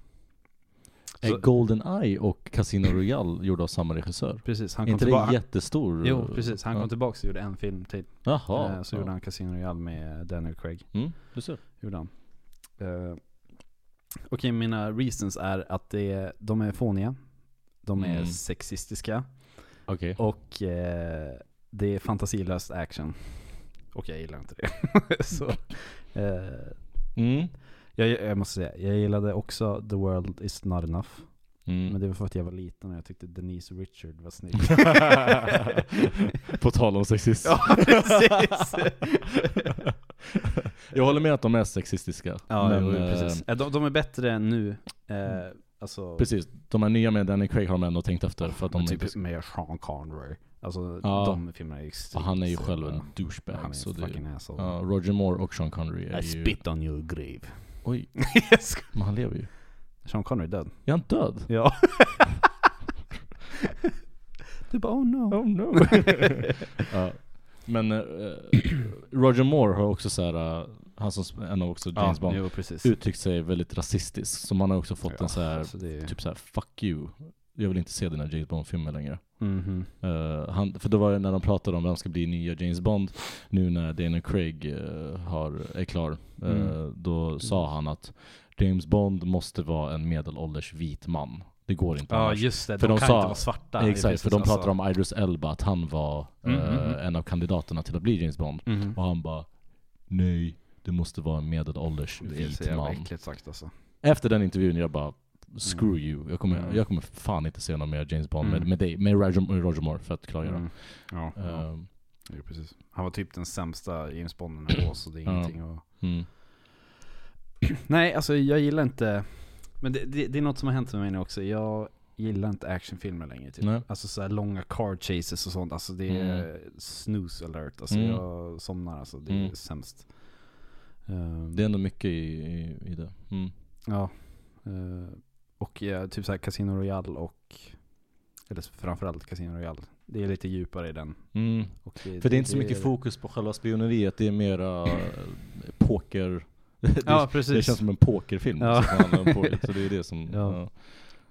S2: Är
S3: Så-
S2: Eh, Golden Eye och Casino Royale gjorda av samma regissör?
S3: Precis, han
S2: Är
S3: kom
S2: inte det en
S3: tillbaka.
S2: jättestor?
S3: Jo, precis. Han
S2: ja.
S3: kom tillbaka och gjorde en film till.
S2: Jaha.
S3: Eh, så
S2: ja.
S3: gjorde han Casino Royale med eh, Daniel Craig.
S2: Mm, du ser.
S3: Gjorde han. Eh, Okej, mina reasons är att det är, de är fåniga, de är
S2: Mm.
S3: sexistiska
S2: Okej.
S3: och eh, det är fantasilöst action. Och jag gillar inte det. så, eh,
S2: Mm.
S3: jag, jag måste säga, jag gillade också The World Is Not Enough.
S2: Mm.
S3: Men det var för att jag var liten och jag tyckte Denise Richard var snygg.
S2: På tal om sexism.
S3: ja, precis.
S2: Jag håller med att de är sexistiska.
S3: ja,
S2: men,
S3: jo, jo,
S2: eh,
S3: precis. Eh, De, de är bättre nu. Eh, alltså,
S2: Precis, de här nya med Danny Craig har de ändå tänkt efter för att de
S3: men
S2: är
S3: typ med Sean Connery. Alltså
S2: Ja.
S3: de filmerna är extremt...
S2: Ja, han är ju själv
S3: Ja,
S2: en douchebag
S3: Han är
S2: så
S3: en
S2: det,
S3: fucking asshole.
S2: ja, Roger Moore och Sean Connery är
S3: I
S2: ju...
S3: spit on your grave.
S2: Oj,
S3: Jag skojar.
S2: men han lever ju.
S3: Sean Connery är död.
S2: Är han död?
S3: Ja. du bara oh no.
S2: Oh no. ja. Men eh, Roger Moore har också så här, eh, han som sp- en av också James Bond,
S3: jo, precis.
S2: uttryckt sig väldigt rasistiskt. Som han har också fått
S3: Ja,
S2: en så här,
S3: alltså det är...
S2: typ så här, fuck you. Jag vill inte se dina James Bond-filmer längre.
S3: Mhm.
S2: Eh, han, för då var det när de pratade om vem ska bli nya James Bond, nu när Daniel Craig eh, har, är klar, eh,
S3: Mm.
S2: då sa han att James Bond måste vara en medelålders vit man. Det går inte
S3: Ja
S2: annars.
S3: just det,
S2: För
S3: de,
S2: de
S3: kan
S2: sa-
S3: inte vara svarta.
S2: Exakt, för de pratade om Idris Elba, att han var eh,
S3: Mm, mm, mm.
S2: en av kandidaterna till att bli James Bond.
S3: mm
S2: Och han bara Nej, det måste vara en medelålders
S3: Det är så
S2: vit
S3: jävla
S2: man.
S3: äckligt sagt alltså.
S2: Efter den intervjun, jag bara Screw you, jag kommer,
S3: Mm.
S2: jag kommer fan inte se någon mer James Bond
S3: Mm.
S2: med, med dig, med Roger, Roger Moore för att klargöra.
S3: Mm. Ja, ja.
S2: Ehm,
S3: Jo, precis. Han var typ den sämsta James Bonden ändå, så det är
S2: Ja.
S3: ingenting att...
S2: Mm.
S3: Nej, alltså jag gillar inte... Men det, det, det är något som har hänt med mig nu också. Jag gillar inte actionfilmer längre typ.
S2: Nej.
S3: Alltså så här långa car chases och sånt. Alltså det är snooze alert. Alltså
S2: Mm.
S3: jag somnar alltså. Det är
S2: Mm.
S3: sämst. Ehm,
S2: Det är ändå mycket i, i, i det. Mm.
S3: Ja. Eh, och ja, typ så här Casino Royale och... Eller framförallt Casino Royale. Det är lite djupare i den.
S2: Mm.
S3: Och
S2: För det är inte så mycket fokus på själva spioneriet, det är mera eh, poker. Det,
S3: Ja, precis.
S2: det känns som en pokerfilm.
S3: Ja.
S2: Så, det handlar om poker, så det är det som...
S3: Ja.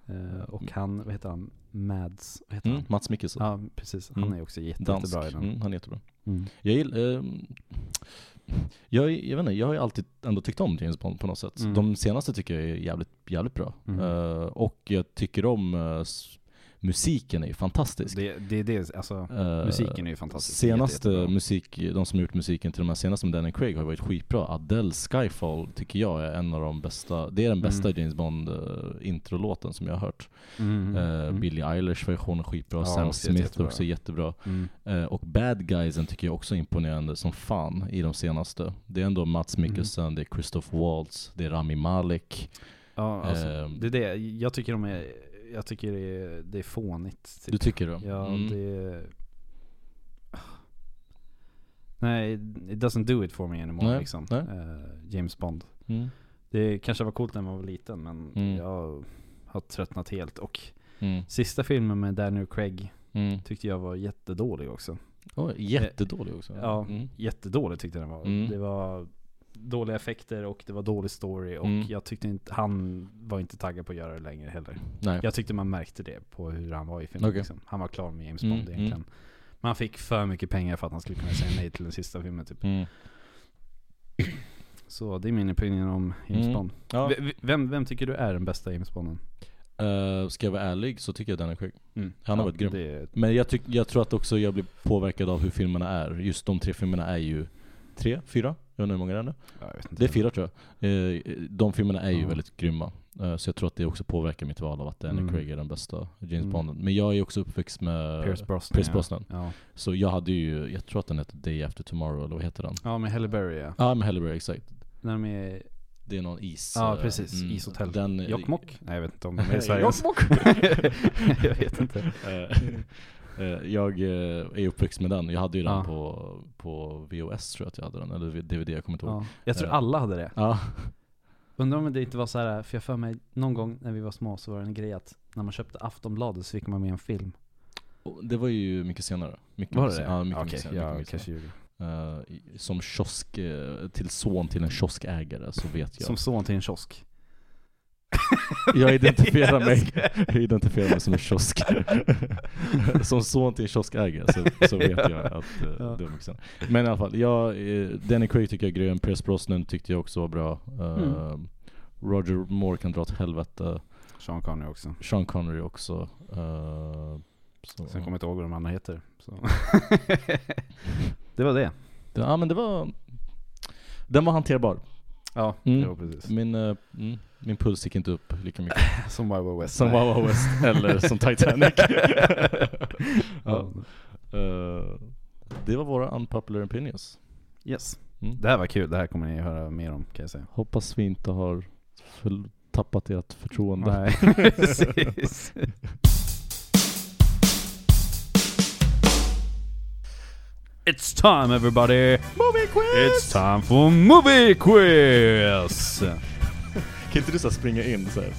S2: Ja.
S3: Eh, och han, vad heter han? Mads, vad heter
S2: Mm.
S3: han?
S2: Mats Mikkelsen.
S3: Ja, precis. Han
S2: Mm.
S3: är ju också jätte,
S2: Dansk.
S3: jättebra i den.
S2: Mm, han är jättebra.
S3: Mm.
S2: Jag gillar... ehm, jag, jag vet inte, jag har ju alltid ändå tyckt om James Bond på något sätt.
S3: Mm.
S2: De senaste tycker jag är jävligt, jävligt bra.
S3: Mm.
S2: Eh, och jag tycker om eh, s- musiken är ju fantastisk.
S3: Det, det är det, alltså
S2: Eh,
S3: musiken är ju fantastisk.
S2: Senaste
S3: Jätte, jättebra.
S2: musik, de som gjort musiken till de här senaste med Daniel Craig har ju varit skitbra. Adele's Skyfall tycker jag är en av de bästa, det är den bästa James Bond eh, introlåten som jag har hört.
S3: Mm.
S2: Eh,
S3: Mm.
S2: Billie Eilish version är skitbra,
S3: Ja,
S2: Sam
S3: också
S2: Smith
S3: jättebra.
S2: också jättebra.
S3: Mm.
S2: Eh, och Bad Guysen tycker jag också är imponerande som fan i de senaste. Det är ändå Mats
S3: Mm.
S2: Mikkelsen, det är Christoph Waltz, det är Rami Malek.
S3: Ja, alltså,
S2: Ehm.
S3: det är det. Jag tycker de är, jag tycker det är, det är fånigt.
S2: Du
S3: Typ.
S2: tycker det?
S3: Ja,
S2: Mm.
S3: det är... Nej, it doesn't do it for me anymore
S2: Nej,
S3: liksom.
S2: nej.
S3: Eh, James Bond.
S2: Mm.
S3: Det kanske var coolt när man var liten men
S2: Mm.
S3: jag har tröttnat helt. Och
S2: Mm.
S3: sista filmen med Daniel Craig
S2: Mm.
S3: tyckte jag var jättedålig också.
S2: Oj, jättedålig också.
S3: Ja,
S2: Mm.
S3: jättedålig tyckte jag den var.
S2: Mm.
S3: Det var dåliga effekter och det var dålig story och
S2: Mm.
S3: jag tyckte inte, han var inte taggad på att göra det längre heller.
S2: Nej.
S3: Jag tyckte man märkte det på hur han var i filmen.
S2: Okej.
S3: Liksom. Han var klar med James
S2: Mm,
S3: Bond egentligen. Man fick för mycket pengar för att han skulle kunna säga nej till den sista filmen typ.
S2: Mm.
S3: Så det är min opinion om James
S2: Mm.
S3: Bond.
S2: Ja.
S3: V- v- Vem, vem tycker du är den bästa James Bonden?
S2: Eh, ska jag vara ärlig så tycker jag den är sjuk. Mm. Han har varit grym.
S3: Det är
S2: Men jag, tyck, jag tror att också jag blir påverkad av hur filmerna är. Just de tre filmerna är ju tre, fyra? Jag undrar hur många det är nu.
S3: Ja, jag vet inte.
S2: Det är fyra tror jag. Eh, De filmerna är ju
S3: Ja.
S2: väldigt grymma. Eh, Så jag tror att det också påverkar mitt val av att Daniel
S3: Mm.
S2: Craig är den bästa James
S3: Mm.
S2: Bonden. Men jag är också uppväxt med
S3: Pierce Brosnan.
S2: Pierce
S3: ja.
S2: Brosnan.
S3: Ja.
S2: Så jag hade ju, jag tror att den heter Day After Tomorrow, eller vad heter den?
S3: ja, med Halle Berry ja.
S2: Ja ah, men Halle Berry, exakt.
S3: När de är
S2: Det är någon is...
S3: Ja,
S2: eh,
S3: precis. Ishotell.
S2: Den,
S3: Jokkmokk? Nej jag vet inte om de är i Sverige.
S2: Jokkmokk?
S3: jag vet inte.
S2: Eh, eh, jag eh, är uppväxt med den. Jag hade ju den
S3: Ja.
S2: på, på VOS tror jag att jag hade den, eller DVD, jag kommer inte ihåg.
S3: Ja. Jag tror
S2: Eh.
S3: alla hade det.
S2: Ja.
S3: Undrar om det inte var så här, för jag för mig någon gång när vi var små så var det en grej att när man köpte Aftonbladet så fick man med en film.
S2: Och Det var ju mycket senare. Mycket, mycket senare. Ja, mycket, mycket senare. mycket, mycket senare.
S3: ljuger.
S2: Eh, i- som kiosk, eh, till son till en kioskägare så vet jag.
S3: Som son till en kiosk.
S2: Jag identifierar mig.
S3: Jag skojar.
S2: Jag identifierar mig som en kiosk. som son till en kioskägare så, så vet jag att eh,
S3: Ja.
S2: det var mycket senare. Men i alla fall, jag, eh, Danny Craig tycker jag är grym. Pierce Brosnan tyckte jag också var bra. Eh,
S3: Mm.
S2: Roger Moore kan dra åt helvete.
S3: Sean Connery också.
S2: Sean Connery också. Eh, så.
S3: Sen kommer jag inte ihåg vad de andra heter. Så. det var det.
S2: Det- Ja men det var... Den var hanterbar.
S3: Ja,
S2: Mm.
S3: det var precis.
S2: Min, eh, mm, min puls gick inte upp lika mycket.
S3: Som Wild Wild West.
S2: Som
S3: Nej.
S2: Wawa West eller som Titanic. ja.
S3: Ja.
S2: eh, det var våra unpopular opinions.
S3: Yes.
S2: Mm.
S3: Det här var kul, det här kommer ni höra mer om kan jag säga.
S2: Hoppas vi inte har förl- tappat ert förtroende.
S3: Nej, precis. It's time everybody! Movie quiz! It's time for movie quiz!
S2: Kan inte du så springa in så här?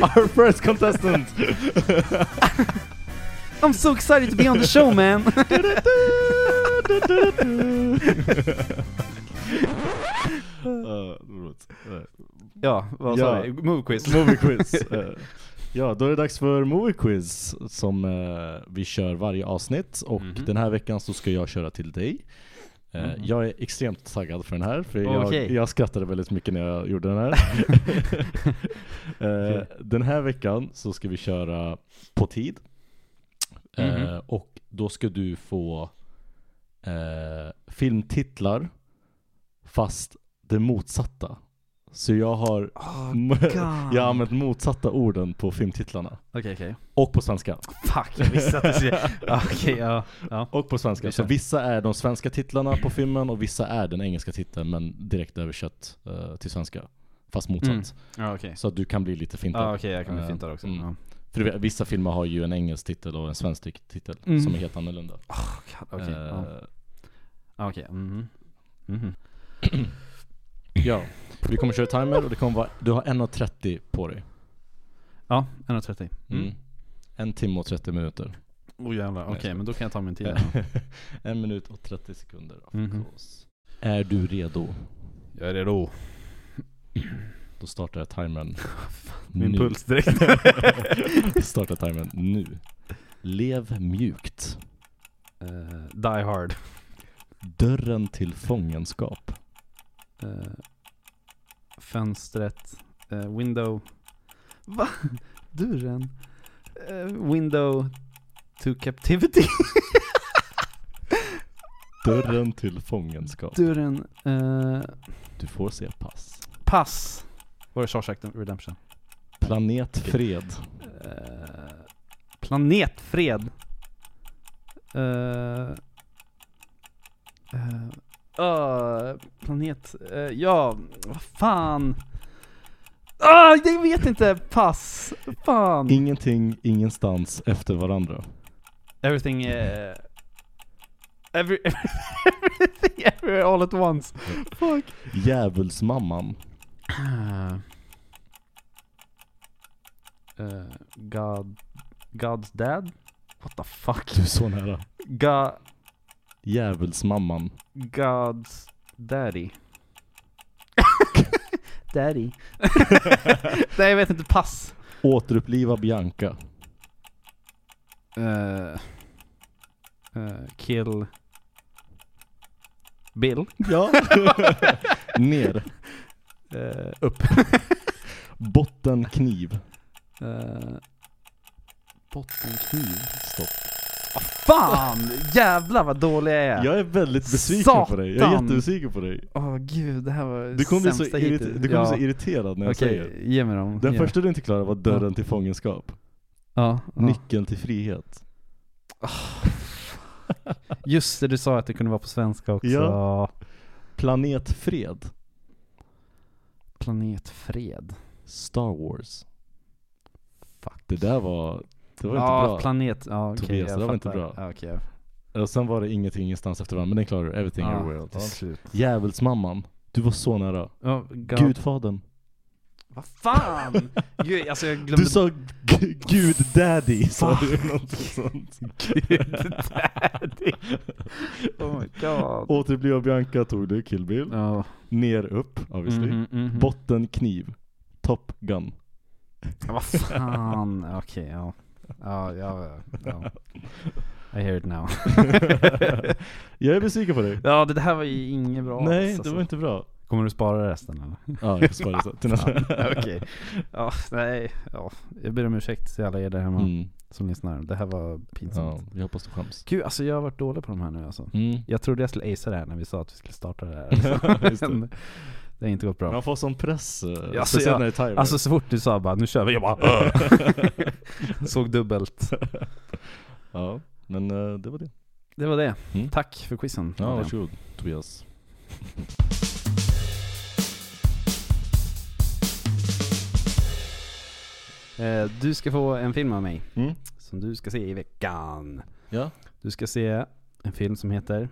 S2: Our first contestant!
S3: I'm so excited to be on the show man!
S2: Eh, roligt. Eh,
S3: ja, vad
S2: Ja.
S3: sa vi? Movie quiz.
S2: Movie quiz. Eh, ja, då är det dags för movie quiz som eh, vi kör varje avsnitt. Och
S3: Mhm.
S2: den här veckan så ska jag köra till dig. Eh,
S3: Mhm.
S2: Jag är extremt taggad för den här, för jag,
S3: Okej.
S2: jag skrattade väldigt mycket när jag gjorde den här. Eh, Den här veckan så ska vi köra på tid. Eh,
S3: Mhm.
S2: Och då ska du få eh, filmtitlar fast det motsatta. Så jag har
S3: Oh,
S2: jag har använt motsatta orden på filmtitlarna.
S3: Okej, okej.
S2: Och på svenska. Ah,
S3: Fuck, jag visste att det skulle... Ja, Okej, ja. ja.
S2: Och på svenska.
S3: Vi
S2: Så
S3: kör.
S2: vissa är de svenska titlarna på filmen och vissa är den engelska titeln men direkt översatt eh, till svenska. Fast motsatt.
S3: Mm. Ja, okej.
S2: Så att du kan bli lite fintad.
S3: Ja, okej, jag kan bli
S2: Eh,
S3: fintad också.
S2: mm.
S3: Ja.
S2: För du vet, vissa filmer har ju en engelsk titel och en svensk tit- titel
S3: Mm.
S2: som är helt annorlunda.
S3: God, Okej, Ah.
S2: Eh,
S3: ja. Ja, okej. mhm. Mhm.
S2: ja. Vi kommer köra timer och det kommer vara, du har 1.30 på dig.
S3: Ja, 1.30.
S2: Mm.
S3: Mm.
S2: En timme och 30 minuter.
S3: Åh jävlar, okej
S2: Nej, så-
S3: men då kan jag ta min tid.
S2: en minut och 30 sekunder. Of
S3: Mhm.
S2: course. Är du redo?
S3: jag är redo.
S2: Då startar jag timern.
S3: Min
S2: nu.
S3: puls direkt.
S2: Starta timern nu. Lev mjukt.
S3: Eh, die hard.
S2: Dörren till fångenskap.
S3: Eh, fönstret. eh, window. Va? Dörren? Eh, window to captivity.
S2: Dörren till fångenskap.
S3: Dörren. eh,
S2: Du får se pass.
S3: pass. Var det Shawshack Redemption?
S2: Planet Fred.
S3: Eh, planetfred. Eh, eh, ah, planet... eh, ja, vad fan. Ah, jag vet inte. Pass. Fan.
S2: Ingenting, ingenstans efter varandra.
S3: Everything... eh, every, everything everywhere all at once. Fuck.
S2: Djävulsmamman.
S3: Eh, God... God's dad? What the fuck?
S2: Du är så nära.
S3: God...
S2: Djävulsmamman.
S3: God's daddy. daddy. Nej jag vet inte, pass.
S2: Återuppliva Bianca.
S5: Eh, eh, kill Bill.
S2: Ja. Ner.
S5: Eh, upp.
S2: Bottenkniv.
S5: Eh, Bottenkniv.
S2: Stopp.
S3: Fan! Jävlar vad dålig jag är.
S2: Jag är väldigt besviken på dig. Jag är
S3: Satan!
S2: jättebesviken på dig.
S3: Åh gud, det här var
S2: Du kommer bli så,
S3: sämsta
S2: irrit-
S3: hittills.
S2: du kommer bli
S3: Ja.
S2: så irriterad när jag
S3: Okej,
S2: säger.
S3: ge mig dem.
S2: Den
S3: Ge mig.
S2: första du inte klarade var dörren till fångenskap.
S3: Ja, ja.
S2: Nyckeln till frihet.
S3: Just det, du sa att det kunde vara på svenska också.
S2: Ja. Planet Fred.
S3: Planet Fred.
S2: Star Wars.
S3: Fuck.
S2: Det där var, det var
S3: ja,
S2: inte bra.
S3: planet. Ja, okej,
S2: Tobias,
S3: jag
S2: det där var inte
S3: fattar.
S2: bra.
S3: Ja, okej. jag-
S2: Och sen var det ingenting ingenstans efter varandra, men den klarade du. Everything
S3: Ja,
S2: everywhere all at
S3: till
S2: once.
S3: slut.
S2: Djävulsmamman. Du var så nära.
S3: Ja, God.
S2: Gudfadern.
S3: Vad fan! Gud, alltså jag glömde...
S2: Du sa g- Gud Daddy, sa du någonting sånt.
S3: Gud Daddy. Oh my god.
S2: Återuppliva Bianca tog du, Kill Bill.
S3: Ja.
S2: Ner, upp, obviously.
S3: Mhm, mhm.
S2: Bottenkniv. Top Gun.
S3: Vad fan, okej ja. Ja, ja, ja. I hear it now.
S2: jag är besviken på dig.
S3: Ja, det här var ju inget bra
S2: Nej,
S3: alls, alltså.
S2: det var inte bra.
S3: Kommer du spara resten eller?
S2: Ja, jag får spara det till nästa.
S3: Okej. Ja, nej. Ja, jag ber om ursäkt till alla er där hemma
S2: Mm,
S3: som lyssnar. Det här var pinsamt.
S2: ja, jag hoppas du skäms.
S3: Gud, alltså jag har varit dålig på de här nu alltså.
S2: Mm.
S3: Jag trodde jag skulle acea det här när vi sa att vi skulle starta det här.
S2: Just det.
S3: Men det har inte gått bra.
S2: Man får sån press, eh,
S3: Ja, alltså
S2: speciellt
S3: jag-
S2: när det är timer.
S3: Alltså så fort du sa bara nu kör vi, jag bara Såg dubbelt.
S2: ja, men eh, det var det.
S3: Det var det.
S2: Mm.
S3: Tack för quizen.
S2: Ja,
S3: Adrian.
S2: varsågod Tobias.
S3: Eh, Du ska få en film av mig
S2: Mm.
S3: som du ska se i veckan.
S2: Ja.
S3: Du ska se en film som heter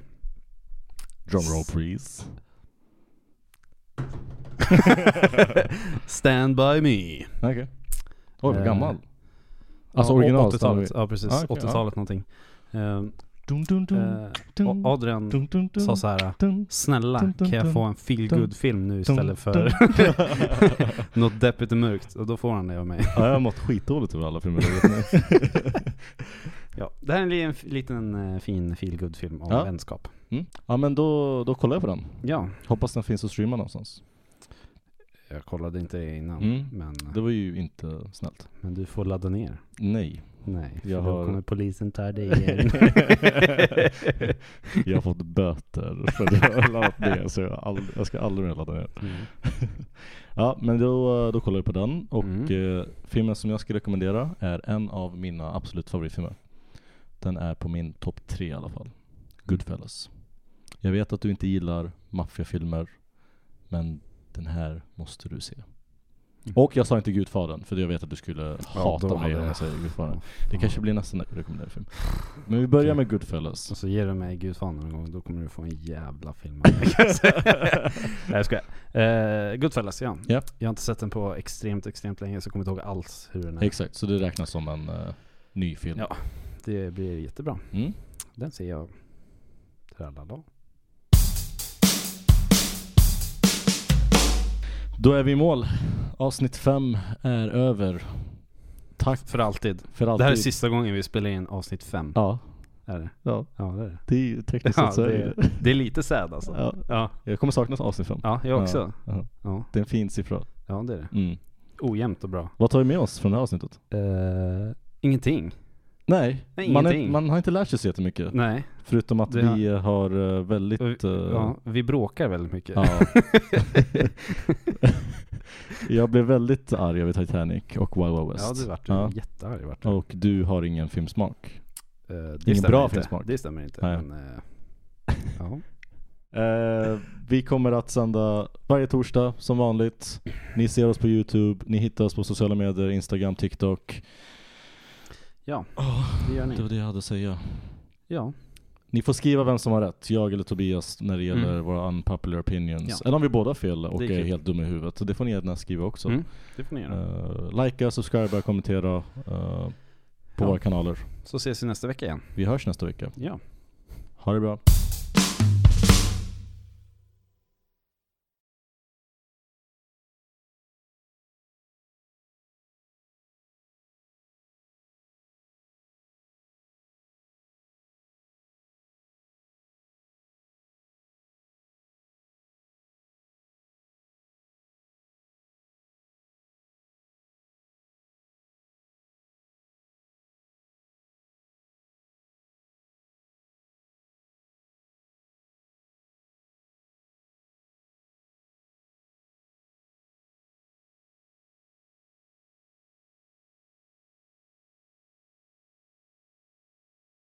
S2: Drumroll please.
S3: Stand By Me.
S2: Okej. Oj, vad
S3: Eh,
S2: gammal. Alltså
S3: Alltså
S2: original.
S3: original 80-talet, ja precis.
S2: Ah, okej,
S3: 80-talet någonting. Ehm,
S2: Dun, dun, dun,
S3: eh,
S2: dun,
S3: och Adrian
S2: dun, dun, dun,
S3: sa så här.
S2: dun,
S3: Snälla,
S2: Dun, dun,
S3: kan
S2: dun.
S3: jag få en feel good film nu istället
S2: dun.
S3: för något deppigt och mörkt? Och då får han det av mig.
S2: ja, jag har mått skitdåligt över alla filmer jag vet nu.
S3: Ja, det här är en li- en f- liten eh, fin feel good film om
S2: Ja.
S3: vänskap.
S2: mm. Ja men då, då kollar jag på den.
S3: Ja,
S2: Hoppas den finns att streama någonstans.
S3: jag kollade inte det innan.
S2: Mm.
S3: Men, eh,
S2: Det var ju inte snällt.
S3: men du får ladda ner.
S2: Nej.
S3: Nej, för
S2: Jag
S3: då
S2: har-
S3: kommer polisen ta dig igen.
S2: jag har fått böter för att jag har laddat ner så jag, har aldrig, jag ska aldrig mer ladda ner.
S3: Mm.
S2: Ja, men då, då kollar vi på den. Och
S3: Mm.
S2: eh, filmen som jag ska rekommendera är en av mina absolut favoritfilmer. Den är på min topp tre i alla fall. Goodfellas. Jag vet att du inte gillar maffiafilmer, men den här måste du se. Och jag sa inte Gudfadern, för jag vet att du skulle hata
S3: Mm.
S2: mig
S3: då hade
S2: om jag
S3: jag-
S2: säger Gudfadern. Det
S3: Fan.
S2: kanske blir nästa rekommenderad film. Men vi börjar
S3: Okej.
S2: med Goodfellas.
S3: Och så ger du mig Gudfadern någon gång, då kommer du få en jävla film av mig, kan jag säga. Nej jag skojar. Eh, Goodfellas ja.
S2: Ja.
S3: Jag har inte sett den på extremt, extremt länge så jag kommer inte ihåg alls hur den är.
S2: Exakt, så det räknas som en eh, ny film.
S3: Ja. det blir jättebra.
S2: Mm.
S3: Den ser jag till alla dagar.
S2: Då är vi i mål. Avsnitt fem är över. Tack
S3: För alltid.
S2: för alltid.
S3: Det här är sista gången vi spelar in avsnitt fem.
S2: typ- Ja,
S3: Är det?
S2: ja.
S3: Ja det är det.
S2: Det är ju tekniskt sett
S3: Ja,
S2: så är
S3: det,
S2: det.
S3: är, det är lite sad alltså.
S2: Ja.
S3: ja.
S2: Jag kommer sakna avsnitt fem.
S3: Ja, jag också.
S2: ja.
S3: Ja, ja.
S2: Det är en fin siffra.
S3: det är det.
S2: Mm.
S3: Ojämnt och bra.
S2: Vad tar vi med oss från det här avsnittet? Eh,
S3: ingenting.
S2: Nej,
S3: Nej,
S2: man, är,
S3: ingenting.
S2: man har inte lärt sig så jättemycket.
S3: Nej.
S2: Förutom att
S3: Det har-
S2: vi har eh, väldigt... eh,
S3: Ja, vi bråkar väldigt mycket.
S2: ja. jag blev väldigt arg över Titanic och Wild Wild West.
S3: Ja, du vart
S2: Ja.
S3: ja. jättearg. Vart du.
S2: Och du har ingen filmsmak.
S3: Eh, det
S2: Ingen
S3: stämmer
S2: bra
S3: inte.
S2: filmsmak.
S3: Det stämmer inte.
S2: Nej.
S3: Men, eh, ja.
S2: Eh, vi kommer att sända varje torsdag som vanligt. Ni ser oss på Youtube, ni hittar oss på sociala medier, Instagram, TikTok.
S3: ja, det gör
S2: Det var
S3: ni.
S2: det jag hade att säga.
S3: Ja,
S2: Ni får skriva vem som har rätt, jag eller Tobias, när det gäller
S3: Mm.
S2: våra unpopular opinions.
S3: Ja.
S2: Eller om vi båda har fel och
S3: Det är
S2: är,
S3: kul.
S2: helt dumma i huvudet. Så det får ni gärna skriva också.
S3: Mm. det får ni göra.
S2: Eh, likea, subscriba, kommentera eh, på
S3: Ja.
S2: våra kanaler.
S3: Så ses vi nästa vecka igen.
S2: Vi hörs nästa vecka.
S3: Ja.
S2: Ha det bra.